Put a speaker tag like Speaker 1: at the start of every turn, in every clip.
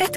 Speaker 1: Et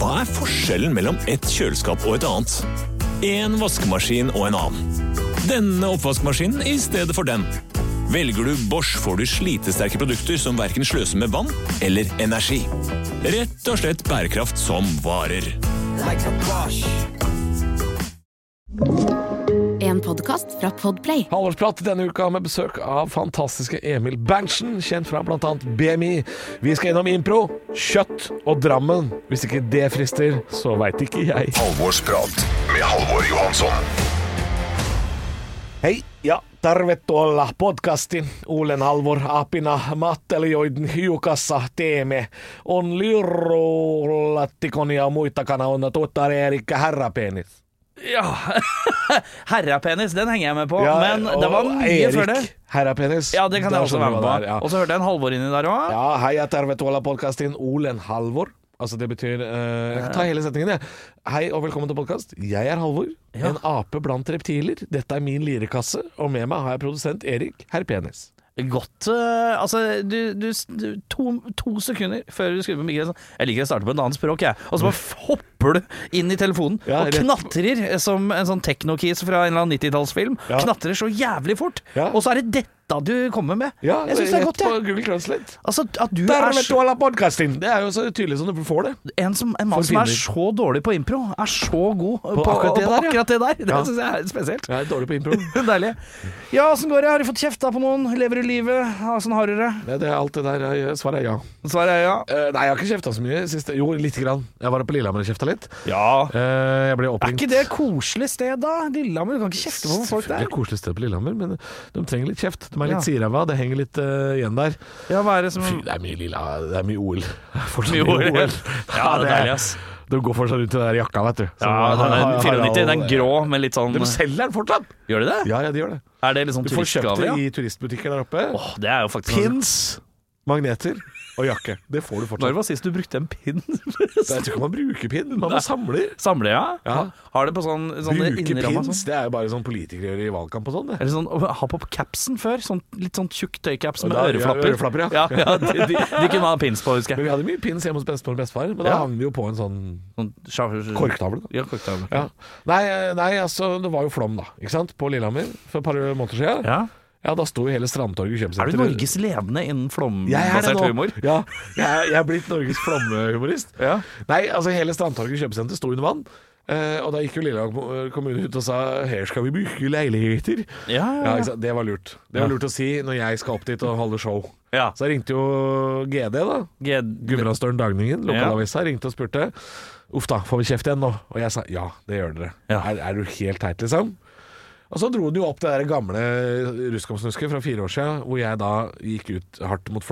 Speaker 2: Hva er forskjellen mellom et kjøleskap og et annet? En vaskemaskin og en annen. Denne oppvaskmaskinen i stedet for den. Velger du Bosch får du slitesterke produkter som verken sløser med vann eller energi. Rett og slett bærekraft som varer.
Speaker 3: En podkast fra Podplay.
Speaker 4: Halvårsprat denne uka med besøk av fantastiske Emil Berntsen, kjent fra bl.a. BMI. Vi skal innom impro, kjøtt og Drammen. Hvis ikke det frister, så veit ikke jeg.
Speaker 5: Halvorsprat med Halvor Johansson.
Speaker 4: Hei ja tervetuloa podcastin. Uuden Halvor Apina Mattelijoiden hiukassa teemme on lirrulattikon ja muita kanaona tuttare, eli herrapenis.
Speaker 6: Ja. Herrepenis, den henger jeg med på.
Speaker 4: Ja,
Speaker 6: men det var
Speaker 4: og
Speaker 6: mye
Speaker 4: Erik,
Speaker 6: før det.
Speaker 4: Herrapenis.
Speaker 6: Ja, det kan
Speaker 4: Da
Speaker 6: jeg også
Speaker 4: skjønner
Speaker 6: være
Speaker 4: du
Speaker 6: med
Speaker 4: hva
Speaker 6: på.
Speaker 4: det er, ja.
Speaker 6: Og så hørte jeg en Halvor inni der òg.
Speaker 4: Ja, hei, jeg er Tervetuala-podkasten Olen Halvor. Altså, det betyr eh, Jeg kan ta hele setningen, jeg. Hei og velkommen til podkast. Jeg er Halvor,
Speaker 6: Ja.
Speaker 4: en ape blant reptiler. Dette er min lirekasse, og med meg har jeg produsent Erik Herr Penis.
Speaker 6: Godt eh, Altså, du, du, du to, to sekunder før du skrur på mikrofonen Jeg liker å starte på et annet språk, jeg. Og så bare hopper du inn i telefonen
Speaker 4: Ja,
Speaker 6: og
Speaker 4: rett-
Speaker 6: knatrer som en sånn teknokis fra en eller annen 90-tallsfilm.
Speaker 4: Ja.
Speaker 6: Knatrer så jævlig fort.
Speaker 4: Ja.
Speaker 6: Og så er det dette du kommer med. jeg syns det
Speaker 4: rett
Speaker 6: er godt, jeg.
Speaker 4: På Google Translate.
Speaker 6: Altså, at du er så
Speaker 4: Tervetuala-podkasten! Det er jo så tydelig som du får det.
Speaker 6: en, som, en mann
Speaker 4: For
Speaker 6: som er
Speaker 4: filmer.
Speaker 6: så dårlig på impro, er så god på,
Speaker 4: akkurat det der,
Speaker 6: på
Speaker 4: ja.
Speaker 6: akkurat det der. Det
Speaker 4: Ja.
Speaker 6: syns jeg er spesielt.
Speaker 4: Jeg er dårlig på impro.
Speaker 6: Deilig. Ja, åssen går det? Har du fått kjefta på noen? Lever du livet? Åssen har du det?
Speaker 4: Det, det er alt det der. Jeg, svaret er ja.
Speaker 6: Svaret er ja.
Speaker 4: Eh, nei, jeg har ikke kjefta så mye. Siste. Jo, lite grann. Jeg var på Lillehammer og kjefta litt.
Speaker 6: Ja.
Speaker 4: Eh, jeg ble
Speaker 6: Er
Speaker 4: oppringt
Speaker 6: ikke det et koselig sted, da? Lillehammer, du kan ikke kjefte på folk
Speaker 4: Selvfølgelig
Speaker 6: der.
Speaker 4: et koselig sted på Lillehammer, men de trenger litt kjeft. De er
Speaker 6: Ja.
Speaker 4: litt siræva, det henger litt eh, igjen der.
Speaker 6: Ja, hva er det som
Speaker 4: Fy, det er mye lilla, det er mye OL. Det er Fortsatt
Speaker 6: Mye
Speaker 4: mye OL.
Speaker 6: OL. Ja, det er deilig, ass.
Speaker 4: De går fortsatt rundt i den der jakka, vet du.
Speaker 6: Ja,
Speaker 4: Som-
Speaker 6: den
Speaker 4: har-
Speaker 6: er
Speaker 4: har-
Speaker 6: 94,
Speaker 4: har-
Speaker 6: den grå med litt sånn
Speaker 4: De selger den fortsatt!
Speaker 6: Gjør de det?
Speaker 4: Ja, ja, de gjør det.
Speaker 6: Er det litt sånn
Speaker 4: Du får kjøpt
Speaker 6: turistgave?
Speaker 4: det
Speaker 6: Ja?
Speaker 4: i turistbutikker der oppe.
Speaker 6: Åh, det er jo faktisk sånn-
Speaker 4: Pins, magneter og jakke. Det får du
Speaker 6: Når
Speaker 4: fortsatt.
Speaker 6: var sist du brukte en pinn?
Speaker 4: Jeg tror ikke man bruker pin, man
Speaker 6: Nei.
Speaker 4: må samle.
Speaker 6: Samle, ja?
Speaker 4: Ja.
Speaker 6: Har det på sånn, sånn
Speaker 4: Bruke
Speaker 6: innramma sånn?
Speaker 4: pins, det er jo bare sånn politikere gjør i valgkamp og sånn. det.
Speaker 6: Eller sånn, å, ha på capsen før. Sånn, litt sånn tjukk tøycaps med
Speaker 4: Da- ja,
Speaker 6: øreflapper.
Speaker 4: øreflapper, ja.
Speaker 6: ja, de, de, de kunne ha pins på, husker
Speaker 4: Men
Speaker 6: jeg.
Speaker 4: vi hadde mye pins hjemme hos bestemor og bestefar, men da
Speaker 6: Ja.
Speaker 4: hang det jo på en sånn
Speaker 6: Sånn, sja-
Speaker 4: korktavle. da.
Speaker 6: Ja, korktavle.
Speaker 4: Ja. Nei, nei, altså, det var jo flom, da. Ikke sant? På Lillehammer for et par måneder siden. Ja,
Speaker 6: Ja.
Speaker 4: da sto jo hele Strandtorget
Speaker 6: Er
Speaker 4: kjøpesenter.
Speaker 6: du Norges ledende innen
Speaker 4: Jeg er det
Speaker 6: flombasert
Speaker 4: nå.
Speaker 6: humor?
Speaker 4: Ja, jeg er, jeg er blitt Norges flomhumorist.
Speaker 6: Ja.
Speaker 4: Nei, altså, hele Strandtorget kjøpesenter sto under vann. eh, og da gikk jo Lillehammer eh, kommune ut og sa her skal vi bygge leiligheter.
Speaker 6: Ja,
Speaker 4: ikke
Speaker 6: ja, ja.
Speaker 4: sant? Det var lurt. Det var
Speaker 6: Ja.
Speaker 4: lurt å si når jeg skal opp dit og holde show.
Speaker 6: Ja.
Speaker 4: Så ringte jo GD, da.
Speaker 6: Ged-
Speaker 4: Gudbrandsdølen Dagningen, lokalavisa, ringte og spurte Uff da, får vi kjeft igjen nå? Og jeg sa ja, det gjør dere.
Speaker 6: Ja.
Speaker 4: Er, er du helt teit, liksom? Og så dro den jo opp det der gamle ruskomsnusket fra fire år siden, hvor jeg da gikk ut hardt mot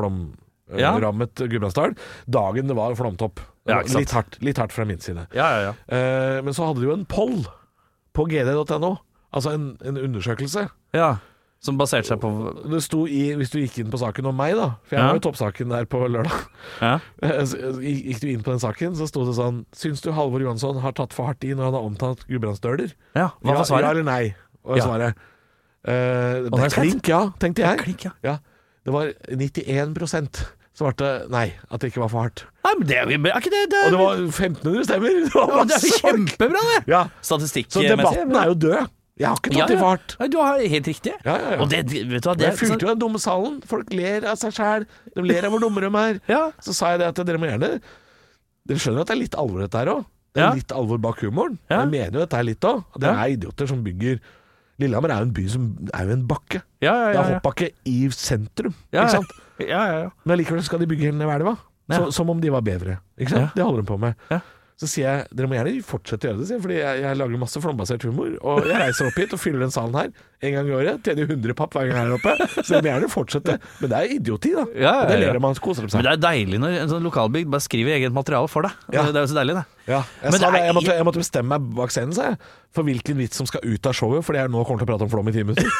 Speaker 6: Ja.
Speaker 4: flomrammet Gudbrandsdal. Dagen det var flomtopp.
Speaker 6: Ja, ikke sant.
Speaker 4: litt, hardt, litt hardt fra min side.
Speaker 6: ja, ja, ja.
Speaker 4: Eh, men så hadde de jo en poll på gd.no, altså en, en undersøkelse.
Speaker 6: ja. Som baserte seg på
Speaker 4: Det sto i, hvis du gikk inn på saken om meg, da, for jeg
Speaker 6: Ja.
Speaker 4: var jo toppsaken der på lørdag. Eh,
Speaker 6: ja.
Speaker 4: Så Gikk du inn på den saken, så sto det sånn Syns du Halvor Johansson har tatt for hardt i når han har omtalt Gudbrandsdøler?
Speaker 6: ja. Hva
Speaker 4: Ja,
Speaker 6: var svaret?
Speaker 4: Ja eller nei? Og
Speaker 6: Ja.
Speaker 4: svaret eh, Det
Speaker 6: det er
Speaker 4: er klink, ja, tenkte jeg.
Speaker 6: Klink, ja.
Speaker 4: Ja. Det var 91 svarte nei, at det ikke var for hardt.
Speaker 6: Nei, men det er, jo- er ikke det, det,
Speaker 4: Og
Speaker 6: er-
Speaker 4: det var 1500 stemmer! Det var
Speaker 6: Ja, men det er jo
Speaker 4: masse folk.
Speaker 6: kjempebra, det!
Speaker 4: Ja. Så
Speaker 6: Statistikkmessig.
Speaker 4: debatten er jo død. Jeg har ikke tatt
Speaker 6: Ja,
Speaker 4: i
Speaker 6: ja.
Speaker 4: for hardt.
Speaker 6: Nei, Du har helt riktig.
Speaker 4: Ja, ja, ja.
Speaker 6: Og det, vet du hva, det
Speaker 4: Jeg fulgte jo den dumme salen. Folk ler av seg sjæl. De ler av hvor dumme de er.
Speaker 6: Ja.
Speaker 4: Så sa jeg det at dere må gjerne Dere skjønner at det er litt alvor dette her òg? Det er
Speaker 6: Ja.
Speaker 4: litt alvor bak humoren.
Speaker 6: Ja.
Speaker 4: Jeg mener jo dette her litt òg. Dere
Speaker 6: Ja.
Speaker 4: er idioter som bygger Lillehammer er jo en by som er jo en bakke.
Speaker 6: Ja, ja,
Speaker 4: Det
Speaker 6: ja.
Speaker 4: er
Speaker 6: ja.
Speaker 4: hoppbakke i sentrum,
Speaker 6: Ja,
Speaker 4: ikke sant?
Speaker 6: ja, ja, ja.
Speaker 4: Men allikevel skal de bygge hele elva.
Speaker 6: Ja.
Speaker 4: Så, som om de var bevere. Ikke sant?
Speaker 6: Ja.
Speaker 4: Det holder de på med.
Speaker 6: Ja.
Speaker 4: Så sier jeg dere må gjerne fortsette å gjøre det, sier jeg, fordi jeg, jeg lager masse flombasert humor. Og jeg reiser opp hit og fyller den salen her en gang i året. Tjener 100 papp hver gang jeg er oppe. Så dere må gjerne fortsette. Men det er idioti, da.
Speaker 6: Ja, ja,
Speaker 4: Og det
Speaker 6: ja.
Speaker 4: ler man og koser de seg.
Speaker 6: Men det er deilig når en sånn lokalbygd bare skriver eget materiale for deg.
Speaker 4: Ja.
Speaker 6: Det er jo så deilig, det.
Speaker 4: Ja, jeg,
Speaker 6: Men
Speaker 4: sa
Speaker 6: det
Speaker 4: det,
Speaker 6: er-
Speaker 4: jeg, måtte, jeg måtte bestemme meg bak scenen, sa jeg, for hvilken vits som skal ut av showet, fordi jeg nå kommer til å prate om flom i ti minutter.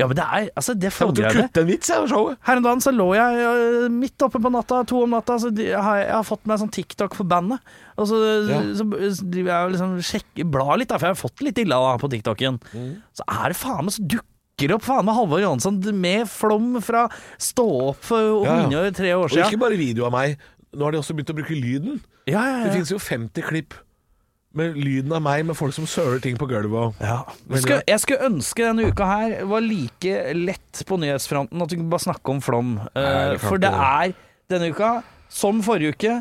Speaker 6: Ja, men det er altså, det
Speaker 4: Jeg måtte
Speaker 6: følger
Speaker 4: jo
Speaker 6: jeg med.
Speaker 4: kutte en vits jeg, av showet.
Speaker 6: Her om dagen så lå jeg ø, midt oppe på natta, to om natta, så de- jeg har, jeg har fått meg sånn TikTok for bandet. Og så,
Speaker 4: Ja.
Speaker 6: så driver jeg og liksom sjekker, blar litt, da, for jeg har fått litt illa da, på TikToken.
Speaker 4: Mm.
Speaker 6: Så er det faen meg så dukker det opp faen meg Halvor Johansson med flom fra Stå opp for
Speaker 4: Ja, ja.
Speaker 6: unge tre år
Speaker 4: Og ikke
Speaker 6: siden.
Speaker 4: bare video av meg. Nå har de også begynt å bruke lyden.
Speaker 6: Ja, ja,
Speaker 4: Det
Speaker 6: ja.
Speaker 4: finnes jo 50 klipp med lyden av meg med folk som søler ting på gulvet. Og
Speaker 6: Ja. Jeg skulle, jeg skulle ønske denne uka her var like lett på nyhetsfronten at du kunne bare snakke om flom. Eh,
Speaker 4: det kan
Speaker 6: for det
Speaker 4: ikke
Speaker 6: er denne uka, som forrige uke,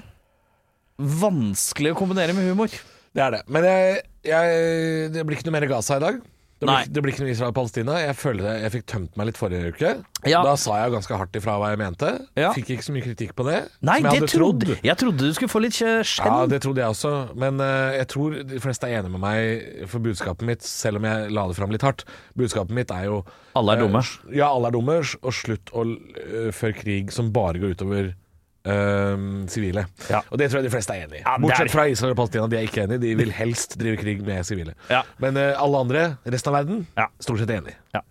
Speaker 6: vanskelig å kombinere med humor.
Speaker 4: Det er det. Men jeg, jeg, det blir ikke noe mer Gaza i dag. Det
Speaker 6: Nei.
Speaker 4: blir, det blir ikke noe Israel-Palestina. Jeg føler jeg, jeg fikk tømt meg litt forrige uke.
Speaker 6: Ja.
Speaker 4: Da sa jeg jo ganske hardt ifra hva jeg mente.
Speaker 6: Ja.
Speaker 4: Fikk ikke så mye kritikk på det.
Speaker 6: Nei,
Speaker 4: som jeg
Speaker 6: det
Speaker 4: hadde
Speaker 6: trodde
Speaker 4: trodd.
Speaker 6: Jeg trodde du skulle få litt skje- skjenn.
Speaker 4: Ja, det trodde jeg også, men eh, jeg tror de fleste er enige med meg for budskapet mitt, selv om jeg la det fram litt hardt. Budskapet mitt er jo
Speaker 6: Alle er
Speaker 4: eh,
Speaker 6: dumme.
Speaker 4: ja, alle er dumme, og slutt å eh, føre krig som bare går utover eh, sivile.
Speaker 6: Ja.
Speaker 4: Og det tror jeg de fleste er enig i.
Speaker 6: Ja, det er de.
Speaker 4: Bortsett fra Israel og Palestina, de er ikke enige. De vil helst drive krig med sivile.
Speaker 6: Ja.
Speaker 4: Men eh, alle andre, resten av verden,
Speaker 6: Ja.
Speaker 4: stort sett enig.
Speaker 6: Ja.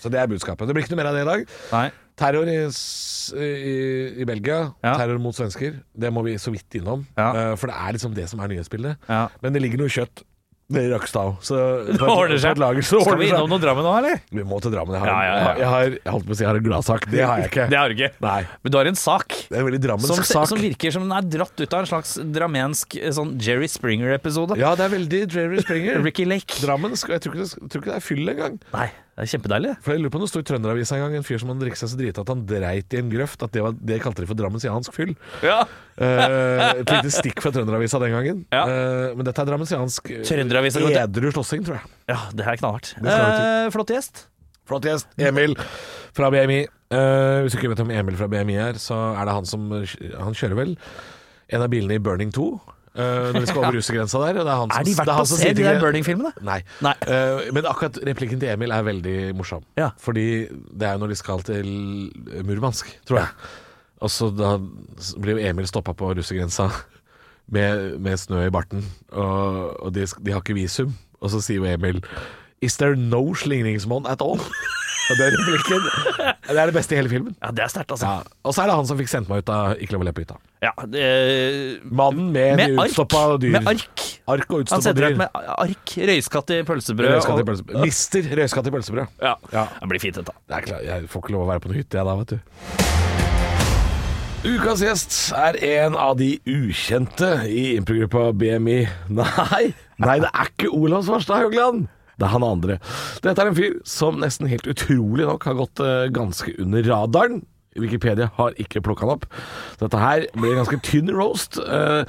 Speaker 4: Så det er budskapet. Det blir ikke noe mer av det i dag.
Speaker 6: Nei.
Speaker 4: Terror i, s- i, i Belgia,
Speaker 6: Ja.
Speaker 4: terror mot svensker, det må vi så vidt innom.
Speaker 6: Ja.
Speaker 4: Eh, for det er liksom det som er nyhetsbildet.
Speaker 6: Ja.
Speaker 4: Men det ligger noe kjøtt nede i Rakkestad òg, så på et-
Speaker 6: ordner seg.
Speaker 4: på et lager så
Speaker 6: Skal
Speaker 4: ordner
Speaker 6: vi
Speaker 4: det
Speaker 6: innom
Speaker 4: seg.
Speaker 6: noe Drammen nå, eller?
Speaker 4: Vi må til Drammen. Jeg har,
Speaker 6: Ja, ja, ja.
Speaker 4: Jeg har, jeg holdt på å si jeg har en gladsak. Det har jeg ikke.
Speaker 6: Det har du ikke.
Speaker 4: Nei.
Speaker 6: Men du har en sak.
Speaker 4: Det er en veldig drammensk
Speaker 6: Som,
Speaker 4: sak.
Speaker 6: som virker som den er dratt ut av en slags dramensk eh, sånn Jerry Springer-episode.
Speaker 4: Ja, det er veldig Dreary Springer.
Speaker 6: Ricky Lake.
Speaker 4: Drammensk. Og jeg tror ikke, det, tror ikke det er fyll engang.
Speaker 6: Nei, det er kjempedeilig.
Speaker 4: For jeg lurer på om det sto i Trønderavisa en gang en fyr som hadde drukket seg så drita at han dreit i en grøft. At det, var, det kalte de for drammensiansk fyll.
Speaker 6: Ja.
Speaker 4: Eh, Et lite stikk fra Trønderavisa den gangen.
Speaker 6: Ja.
Speaker 4: Eh, men dette er drammensiansk eh,
Speaker 6: Trønderavisa går til-
Speaker 4: edru slåssing, tror jeg.
Speaker 6: ja, det her er knallhardt.
Speaker 4: Det skal vi
Speaker 6: Eh, flott gjest.
Speaker 4: Flott gjest. Emil fra BMI. Eh, hvis du ikke vet om Emil fra BMI er, så er det han som Han kjører vel en av bilene i Burning 2 eh, når de skal over russegrensa der. og Det er han som,
Speaker 6: Er de
Speaker 4: det
Speaker 6: verdt
Speaker 4: er han
Speaker 6: å
Speaker 4: som
Speaker 6: se,
Speaker 4: sier
Speaker 6: de
Speaker 4: til-
Speaker 6: der Burning-filmene?
Speaker 4: Nei.
Speaker 6: Nei.
Speaker 4: Eh, men akkurat replikken til Emil er veldig morsom.
Speaker 6: Ja.
Speaker 4: Fordi det er jo når de skal til Murmansk, tror jeg. Og så da blir jo Emil stoppa på russegrensa med, med snø i barten, og, og de, de har ikke visum. Og så sier jo Emil Is there no slingringsmonn at all? Og det er replikken. Det er det beste i hele filmen.
Speaker 6: Ja, det er sterkt, altså.
Speaker 4: Ja. Og så er det han som fikk sendt meg ut av Ikke lov å le på hytta.
Speaker 6: Ja, det-
Speaker 4: Mannen med,
Speaker 6: med
Speaker 4: de
Speaker 6: ark.
Speaker 4: utstoppa dyr.
Speaker 6: Med ark.
Speaker 4: Ark og
Speaker 6: Han
Speaker 4: utstoppa
Speaker 6: setter
Speaker 4: dyr.
Speaker 6: ut med ark, røyskatt i pølsebrød.
Speaker 4: Røyskatt i
Speaker 6: og-
Speaker 4: pølsebrød. Mister røyskatt i pølsebrød.
Speaker 6: Ja.
Speaker 4: Ja.
Speaker 6: Det blir fint, dette.
Speaker 4: Det er klart, jeg får ikke lov å være på noe hytte jeg da, vet du. Ukas gjest er en av de ukjente i improgruppa BMI. Nei, nei, det er ikke Olav Svarstad Haugland. Det er han andre. Dette er en fyr som nesten helt utrolig nok har gått eh, ganske under radaren. Wikipedia har ikke plukka han opp. Dette her blir en ganske tynn roast. Eh,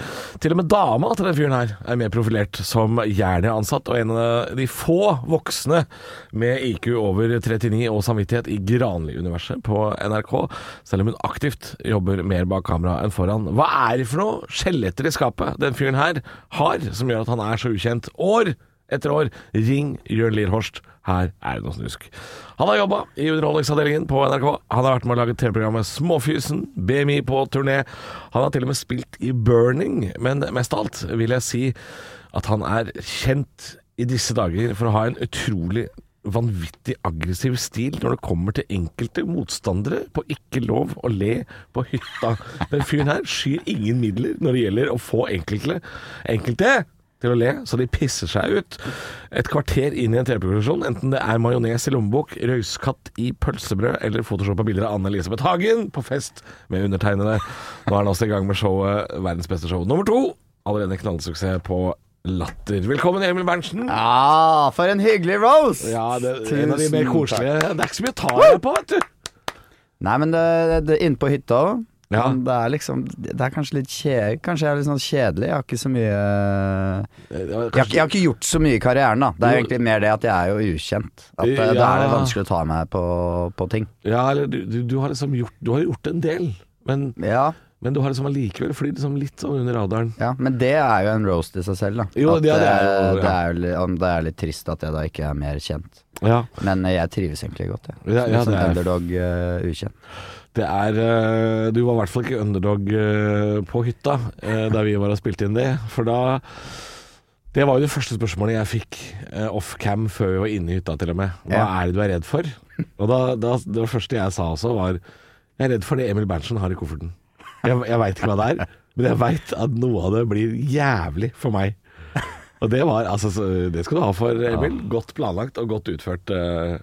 Speaker 4: til og med dama til den fyren her er mer profilert som Jernia-ansatt, og en av de få voksne med IQ over 39 og samvittighet i Granli-universet på NRK, selv om hun aktivt jobber mer bak kamera enn foran. Hva er det for noe skjeletter i skapet den fyren her har, som gjør at han er så ukjent år etter år? Ring Jørn Lier Horst. Her er det noe snusk. Han har jobba i Underholdningsavdelingen på NRK. Han har vært med å lage TV-programmet Småfysen, BMI på turné. Han har til og med spilt i Burning, men mest av alt vil jeg si at han er kjent i disse dager for å ha en utrolig vanvittig aggressiv stil når det kommer til enkelte motstandere på ikke lov å le på hytta. Den fyren her skyr ingen midler når det gjelder å få enkelte, enkelte til å le, så de pisser seg ut. Et kvarter inn i en TV-produksjon, enten det er majones i lommebok, røyskatt i pølsebrød eller photoshoppa bilder av Anne-Elisabeth Hagen på fest med undertegnede. Nå er han også i gang med showet Verdens beste show nummer to. Allerede en knallsuksess på Latter. Velkommen, Emil Berntsen.
Speaker 7: Ja, for en hyggelig roast!
Speaker 4: Ja, det er en av de
Speaker 7: Tusen
Speaker 4: mer
Speaker 7: takk.
Speaker 4: koselige Det er ikke så mye å ta deg på, vet du.
Speaker 7: Nei, men det, det, det inne på hytta
Speaker 4: Ja.
Speaker 7: Men det er liksom Det er kanskje litt kje, Kanskje jeg er litt sånn kjedelig. Jeg har ikke så mye jeg, har ikke- jeg har ikke gjort så mye i karrieren, da. Det er jo egentlig mer det at jeg er jo ukjent. At eh, Da er det
Speaker 4: Ja.
Speaker 7: vanskelig å ta meg på, på ting.
Speaker 4: Ja, eller du, du, du har liksom gjort Du har gjort en del, men,
Speaker 7: Ja,
Speaker 4: men du har liksom allikevel flydd liksom litt sånn under radaren.
Speaker 7: ja, men det er jo en roast i seg selv, da.
Speaker 4: Jo,
Speaker 7: at,
Speaker 4: ja, det er jo-
Speaker 7: eh,
Speaker 4: ja.
Speaker 7: det, er jo, li- om det er litt trist at jeg da ikke er mer kjent.
Speaker 4: Ja,
Speaker 7: Men eh, jeg trives egentlig godt, jeg.
Speaker 4: Ja, ja,
Speaker 7: som
Speaker 4: det liksom er-
Speaker 7: underdog eh, ukjent.
Speaker 4: det er eh, Du var i hvert fall ikke underdog eh, på hytta eh, da vi var og spilte inn det, for da Det var jo det første spørsmålet jeg fikk eh, off cam før vi var inne i hytta, til og med. Hva
Speaker 7: Ja.
Speaker 4: er det du er redd for? Og da, da, det første jeg sa også, var Jeg er redd for det Emil Berntsen har i kofferten. Jeg, jeg veit ikke hva det er, men jeg veit at noe av det blir jævlig for meg. Og det var altså så- Det skal du ha for, Emil. Godt planlagt og godt utført. eh,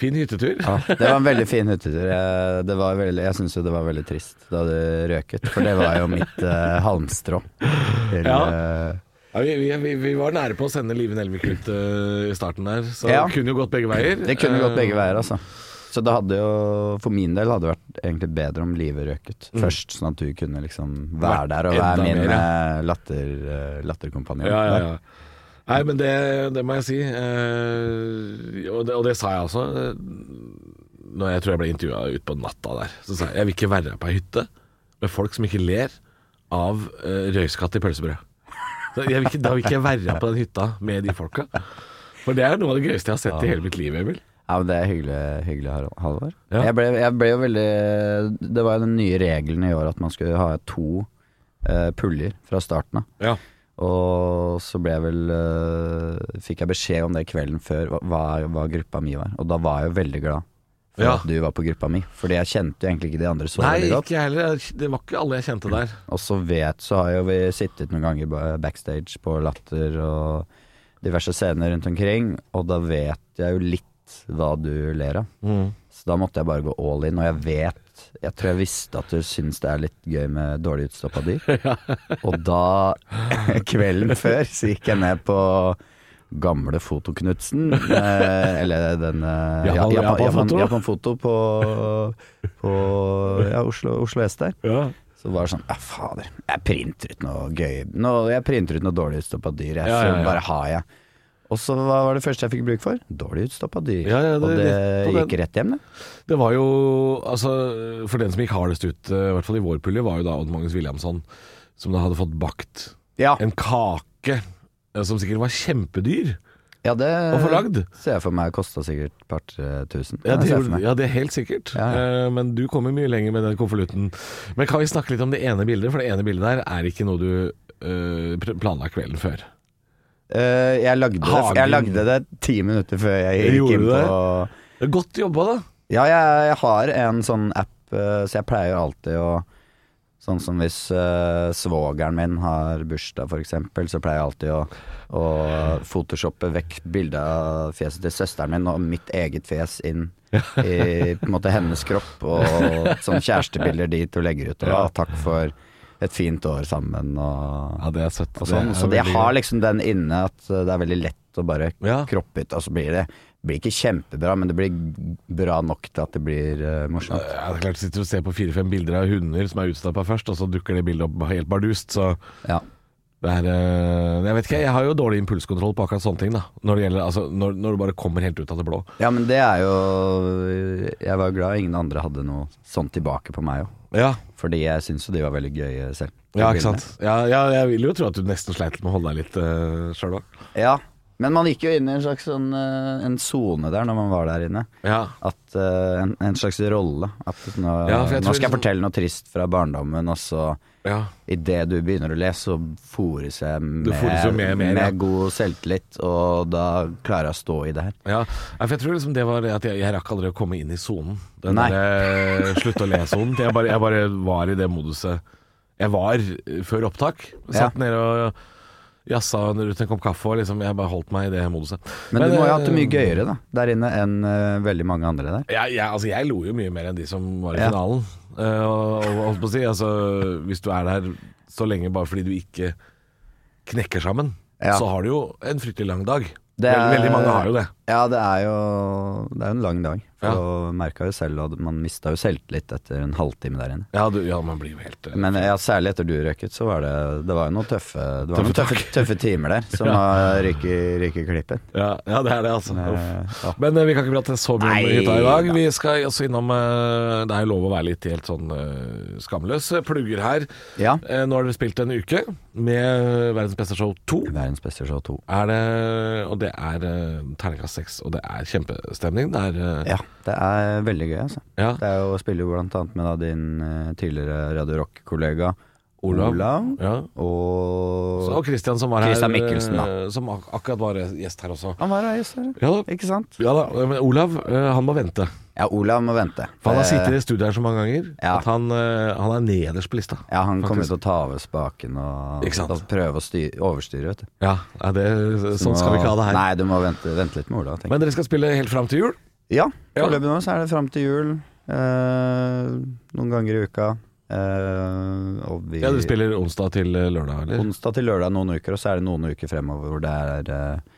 Speaker 4: fin hyttetur.
Speaker 7: Det var en veldig fin hyttetur. Jeg, det var veldig- jeg syns jo det var veldig trist da det røket, for det var jo mitt eh, halmstrå. Til,
Speaker 4: Ja.
Speaker 7: eh,
Speaker 4: Ja, vi, vi, vi, vi var nære på å sende Live Nelvik ut eh, i starten der, så
Speaker 7: Ja.
Speaker 4: det kunne jo gått begge veier.
Speaker 7: Det kunne gått
Speaker 4: Eh,
Speaker 7: begge veier, altså. Så det hadde jo, for min del hadde det vært egentlig bedre om livet røket først, sånn at du kunne liksom være
Speaker 4: Mm. Vært
Speaker 7: der og være
Speaker 4: enda
Speaker 7: min
Speaker 4: mer,
Speaker 7: eh, latter, eh, latterkompanjong.
Speaker 4: Ja, ja, ja. Nei, men det, det må jeg si. eh, og, det, og det sa jeg også. eh, Når jeg tror jeg ble intervjua utpå natta der, så sa jeg jeg vil ikke være på ei hytte med folk som ikke ler av eh, røyskatt i pølsebrød. Så jeg vil ikke, da vil ikke jeg være på den hytta med de folka. For det er jo noe av det gøyeste jeg har sett i hele mitt liv, Emil.
Speaker 7: Ja, men det er hyggelig, hyggelig Har- Halvor.
Speaker 4: Ja.
Speaker 7: Jeg, ble, jeg ble jo veldig Det var jo den nye regelen i år at man skulle ha to eh, puljer fra starten av.
Speaker 4: Ja.
Speaker 7: Og så ble jeg vel eh, Fikk jeg beskjed om det kvelden før hva- hva, hva gruppa mi var. Og da var jeg jo veldig glad for
Speaker 4: Ja.
Speaker 7: at du var på gruppa mi. Fordi jeg kjente jo egentlig ikke de andre så
Speaker 4: Nei,
Speaker 7: veldig godt.
Speaker 4: ikke jeg heller. Det var ikke alle jeg kjente der.
Speaker 7: Og så vet så har jo vi sittet noen ganger ba- backstage på Latter og diverse scener rundt omkring, og da vet jeg jo litt hva du ler av. Så da måtte jeg bare gå all in, og jeg vet Jeg tror jeg visste at du syns det er litt gøy med dårlig utstoppa dyr. Og da, kvelden før, så gikk jeg ned på Gamle Foto Knutsen, eh, eller den eh,
Speaker 4: Japan-
Speaker 7: Japan-
Speaker 4: Japan Foto.
Speaker 7: Japan- Japan Foto på, på ja, Oslo, Oslo S der. Så var det sånn Ja, fader. Jeg printer ut noe gøy nå, Jeg printer ut noe dårlig utstoppa dyr. Jeg
Speaker 4: Ja, ja, ja.
Speaker 7: bare har jeg. Og så hva var det første jeg fikk bruk for? Dårlig utstoppa dyr.
Speaker 4: Ja, ja, det
Speaker 7: og
Speaker 4: er rett
Speaker 7: det
Speaker 4: på den.
Speaker 7: gikk rett hjem, det.
Speaker 4: Det var jo, altså For den som gikk hardest ut, eh, i hvert fall i vår pulje, var jo da Odd Magnus Williamson, som da hadde fått bakt
Speaker 7: Ja,
Speaker 4: en kake eh, som sikkert var kjempedyr
Speaker 7: ja det
Speaker 4: å få lagd.
Speaker 7: ser jeg for meg kosta sikkert et par-tre tusen.
Speaker 4: Eh, Ja, det,
Speaker 7: ser jeg for
Speaker 4: gjorde-
Speaker 7: meg.
Speaker 4: ja, det er helt sikkert.
Speaker 7: Ja,
Speaker 4: Eh, Men du kommer mye lenger med den konvolutten. Men kan vi snakke litt om det ene bildet? For det ene bildet der er ikke noe du eh, pr- planla kvelden før.
Speaker 7: Eh, jeg, lagde det,
Speaker 4: Hagen.
Speaker 7: jeg lagde det ti minutter før jeg
Speaker 4: Gjorde
Speaker 7: gikk inn
Speaker 4: du
Speaker 7: på
Speaker 4: det? Godt jobba, da.
Speaker 7: Ja, jeg, jeg har en sånn app, eh, så jeg pleier alltid å Sånn som hvis eh, svogeren min har bursdag, for eksempel, så pleier jeg alltid å, å photoshoppe vekk bildet av fjeset til søsteren min og mitt eget fjes inn i på en måte hennes kropp, og sånn kjærestebilder dit og legger ut. Og ja, takk for et fint år sammen og,
Speaker 4: Ja, det er søtt.
Speaker 7: og sånn.
Speaker 4: Det er
Speaker 7: Så jeg
Speaker 4: veldig
Speaker 7: har
Speaker 4: gøy.
Speaker 7: liksom den inne at eh, det er veldig lett å bare
Speaker 4: Ja.
Speaker 7: kroppe ut, og så blir det blir ikke kjempebra, men det blir bra nok til at det blir eh, morsomt.
Speaker 4: Ja, det er klart, Sitter og ser på fire-fem bilder av hunder som er utstappa først, og så dukker det bildet opp helt bardust, så
Speaker 7: Ja.
Speaker 4: det er eh, Jeg vet ikke, jeg har jo dårlig impulskontroll på akkurat sånne ting, da. Når det gjelder Altså, når, når du bare kommer helt ut av det blå.
Speaker 7: ja, men det er jo Jeg var glad ingen andre hadde noe sånn tilbake på meg òg.
Speaker 4: Ja,
Speaker 7: Fordi jeg syns jo de var veldig gøye selv.
Speaker 4: ja
Speaker 7: de
Speaker 4: ikke sant. Ja, ja, jeg vil jo tro at du nesten sleit med å holde deg litt uh, sjøl òg.
Speaker 7: bildene. Ja, men man gikk jo inn i en slags sånn, eh, en sone der når man var der inne.
Speaker 4: Ja.
Speaker 7: At, eh, en, en slags rolle. At nå,
Speaker 4: Ja, for jeg tror
Speaker 7: nå skal jeg
Speaker 4: liksom-
Speaker 7: fortelle noe trist fra barndommen, og så
Speaker 4: ja.
Speaker 7: Idet du begynner å lese, så fôres jeg med,
Speaker 4: fôres jo med mer, ja.
Speaker 7: god selvtillit, og da klarer jeg å stå i det her.
Speaker 4: Ja, Nei, for jeg tror liksom det var det at jeg, jeg rakk aldri å komme inn i sonen. Den
Speaker 7: Nei.
Speaker 4: derre eh, slutt å le-sonen. Jeg, bare- jeg bare var i det moduset jeg var eh, før opptak. Satt nede og jazza rundt en kopp kaffe og liksom Jeg bare holdt meg i det moduset.
Speaker 7: Men, du må jo ha hatt det
Speaker 4: eh,
Speaker 7: mye gøyere da der inne enn eh, veldig mange andre der.
Speaker 4: Jeg, jeg, altså, jeg lo jo mye mer enn de som var i
Speaker 7: Ja.
Speaker 4: finalen. Eh, og, og holdt på å si, altså, hvis du er der så lenge bare fordi du ikke knekker sammen,
Speaker 7: Ja.
Speaker 4: så har du jo en fryktelig lang dag.
Speaker 7: Det er-
Speaker 4: Veldig, veldig mange har jo det.
Speaker 7: Ja, det er jo det er jo en lang dag.
Speaker 4: Ja.
Speaker 7: For ja. merka jo selv, og man mista jo selvtillit etter en halvtime der inne.
Speaker 4: Ja, du, ja man blir jo helt eh,
Speaker 7: Men ja, særlig etter du røyket, så var det Det var jo noen tøffe Det
Speaker 4: Tøffe
Speaker 7: var noen tøffe, tøffe timer der som har ryket ryke klippet.
Speaker 4: ja, ja, det er det, altså. Uff.
Speaker 7: Eh, ja.
Speaker 4: Men eh, vi kan ikke prate så mye om
Speaker 7: Nei,
Speaker 4: hytta i dag.
Speaker 7: da.
Speaker 4: Vi skal også innom eh, Det er jo lov å være litt helt sånn eh, skamløs. Plugger her.
Speaker 7: ja.
Speaker 4: Eh, Nå har dere spilt en uke med Verdens beste show 2.
Speaker 7: Verdens beste show 2.
Speaker 4: Er det, og det er eh, terningkast 6, og det er kjempestemning. Det er eh,
Speaker 7: Ja, det er veldig gøy, altså.
Speaker 4: ja.
Speaker 7: Det er jo å spille jo blant annet med da din eh, tidligere Radio Rock-kollega
Speaker 4: Olav.
Speaker 7: Olav,
Speaker 4: ja. Så,
Speaker 7: og
Speaker 4: og Christian som var
Speaker 7: Christian
Speaker 4: her. eh,
Speaker 7: Mikkelsen, da.
Speaker 4: Som ak akkurat var eh, gjest her også.
Speaker 7: Han var her, yes, her.
Speaker 4: Ja da.
Speaker 7: ikke sant?
Speaker 4: Ja da, men Olav, eh, han må vente.
Speaker 7: Ja, Olav må vente.
Speaker 4: For han har
Speaker 7: Eh,
Speaker 4: sittet i studio her så mange ganger
Speaker 7: Ja.
Speaker 4: at han, eh, han er nederst på lista.
Speaker 7: Ja, han kommer
Speaker 4: Faktisk.
Speaker 7: til å ta over spaken og,
Speaker 4: Ikke sant?
Speaker 7: og prøve å styre, overstyre, vet du.
Speaker 4: Ja, ja, det,
Speaker 7: Du
Speaker 4: Sånn skal vi
Speaker 7: må-
Speaker 4: ikke ha det her.
Speaker 7: Nei, du må vente, vente litt med Olav, tenker jeg.
Speaker 4: Men dere skal spille helt fram til jul.
Speaker 7: Ja,
Speaker 4: Ja.
Speaker 7: foreløpig nå så er det fram til jul. Eh, noen ganger i uka. Eh, og vi
Speaker 4: Ja, Dere spiller onsdag til eh, lørdag, eller?
Speaker 7: onsdag til lørdag noen uker, og så er det noen uker fremover hvor det er eh,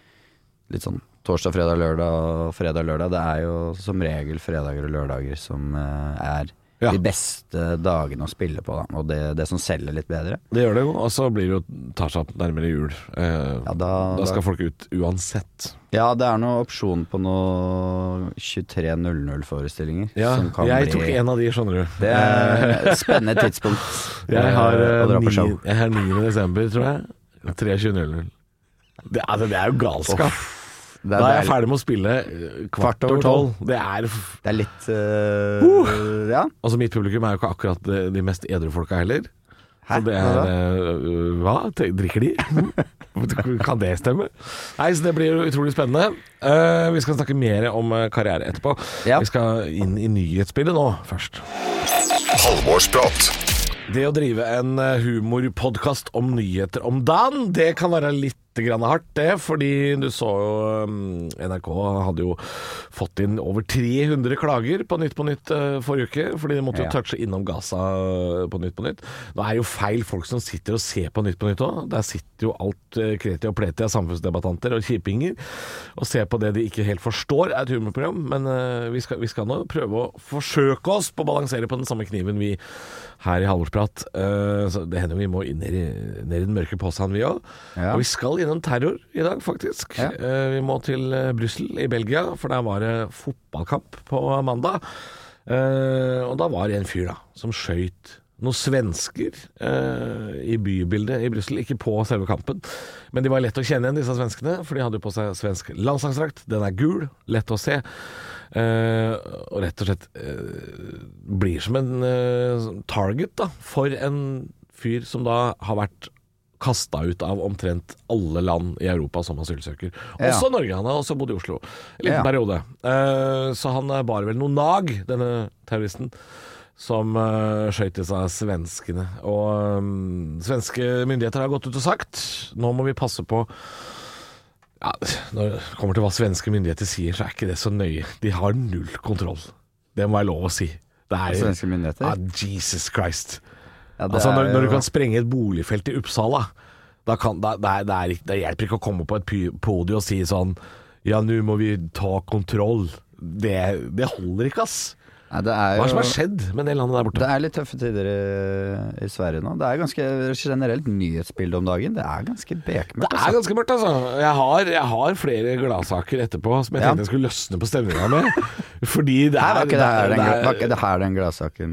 Speaker 7: litt sånn torsdag, fredag, lørdag og fredag, lørdag. Det er jo som regel fredager og lørdager som eh, er
Speaker 4: Ja.
Speaker 7: de beste dagene å spille på, da. Og det, det som selger litt bedre.
Speaker 4: Det gjør det jo. Og så blir det jo tar seg opp nærmere jul. Eh,
Speaker 7: Ja, da,
Speaker 4: da skal folk ut uansett.
Speaker 7: ja det er noe opsjon på noe 23.00-forestillinger.
Speaker 4: Ja,
Speaker 7: som kan
Speaker 4: jeg
Speaker 7: bli
Speaker 4: tok en av de, skjønner du.
Speaker 7: Det er et spennende tidspunkt
Speaker 4: Jeg har,
Speaker 7: eh, å dra på
Speaker 4: eh,
Speaker 7: show.
Speaker 4: ni- jeg har 9. desember, tror jeg. 23.00. Det, altså, det er jo galskap.
Speaker 7: Det
Speaker 4: da er jeg
Speaker 7: det
Speaker 4: ferdig med å spille eh, kvart over tolv. Det er f-
Speaker 7: Det er litt eh, Ja.
Speaker 4: Altså, mitt publikum er jo ikke akkurat de, de mest edru folka heller. Så
Speaker 7: Hæ?
Speaker 4: det
Speaker 7: Hva
Speaker 4: er
Speaker 7: da?
Speaker 4: eh, Hva? Te- Drikker de? kan det stemme? Nei, så det blir jo utrolig spennende. Eh, vi skal snakke mer om eh, karriere etterpå.
Speaker 7: Ja.
Speaker 4: Vi skal inn i nyhetsbildet nå først.
Speaker 5: Halvorsprat.
Speaker 4: Det å drive en eh, humorpodkast om nyheter om dagen, det kan være litt grann hardt, det. Fordi du så jo mm, NRK hadde jo fått inn over 300 klager på Nytt på Nytt eh, forrige uke. Fordi de måtte
Speaker 7: Ja.
Speaker 4: jo touche innom Gaza eh, på Nytt på Nytt. Nå er jo feil folk som sitter og ser på Nytt på Nytt òg. Der sitter jo alt eh, kreti og pleti av samfunnsdebattanter og kjipinger og ser på det de ikke helt forstår er et humorprogram. Men eh, vi, skal, vi skal nå prøve å forsøke oss på å balansere på den samme kniven vi her i Halvorsprat. Eh, så det hender vi må inn ned i, ned i den mørke posen, vi òg.
Speaker 7: Ja.
Speaker 4: Og vi skal innom terror i dag, faktisk.
Speaker 7: Ja.
Speaker 4: Eh, vi må til eh, Brussel i Belgia, for der var det fotballkamp på mandag. Eh, og da var det en fyr da som skøyt noen svensker eh, i bybildet i Brussel. Ikke på selve kampen, men de var lett å kjenne igjen, disse svenskene. For de hadde jo på seg svensk landslagsdrakt. Den er gul, lett å se. Eh, og rett og slett eh, blir som en eh, target da, for en fyr som da har vært kasta ut av omtrent alle land i Europa som asylsøker.
Speaker 7: Ja.
Speaker 4: Også Norge. Han har også bodd i Oslo en liten
Speaker 7: Ja.
Speaker 4: periode. Eh, så han eh, bar vel noe nag, denne terroristen. Som uh, skøyt disse svenskene. Og eh, svenske myndigheter har gått ut og sagt nå må vi passe på ja, Når det kommer til hva svenske myndigheter sier, så er ikke det så nøye. De har null kontroll. Det må være lov å si. Det er
Speaker 7: Svenske myndigheter?
Speaker 4: Ja, Jesus Christ.
Speaker 7: Ja, det
Speaker 4: Altså,
Speaker 7: er
Speaker 4: når, når
Speaker 7: jo-
Speaker 4: du kan sprenge et boligfelt i Uppsala, da kan, da, det, er, det, er, ikke- det hjelper ikke å komme på et py- podium og si sånn Ja, nå må vi ta kontroll. Det, det holder ikke, ass.
Speaker 7: Nei, det
Speaker 4: Hva er
Speaker 7: er
Speaker 4: det som
Speaker 7: jo
Speaker 4: har skjedd med det landet der borte?
Speaker 7: det er litt tøffe tider i, i Sverige nå. Det er ganske generelt nyhetsbilde om dagen. Det er ganske bekmørkt.
Speaker 4: Det er ganske mørkt, altså. Jeg har, jeg har flere gladsaker etterpå som jeg
Speaker 7: Ja.
Speaker 4: tenkte jeg skulle løsne på stemninga med. Fordi det
Speaker 7: Nei,
Speaker 4: er,
Speaker 7: var ikke det her
Speaker 4: det er-
Speaker 7: den, gla- var ikke det her den gladsaken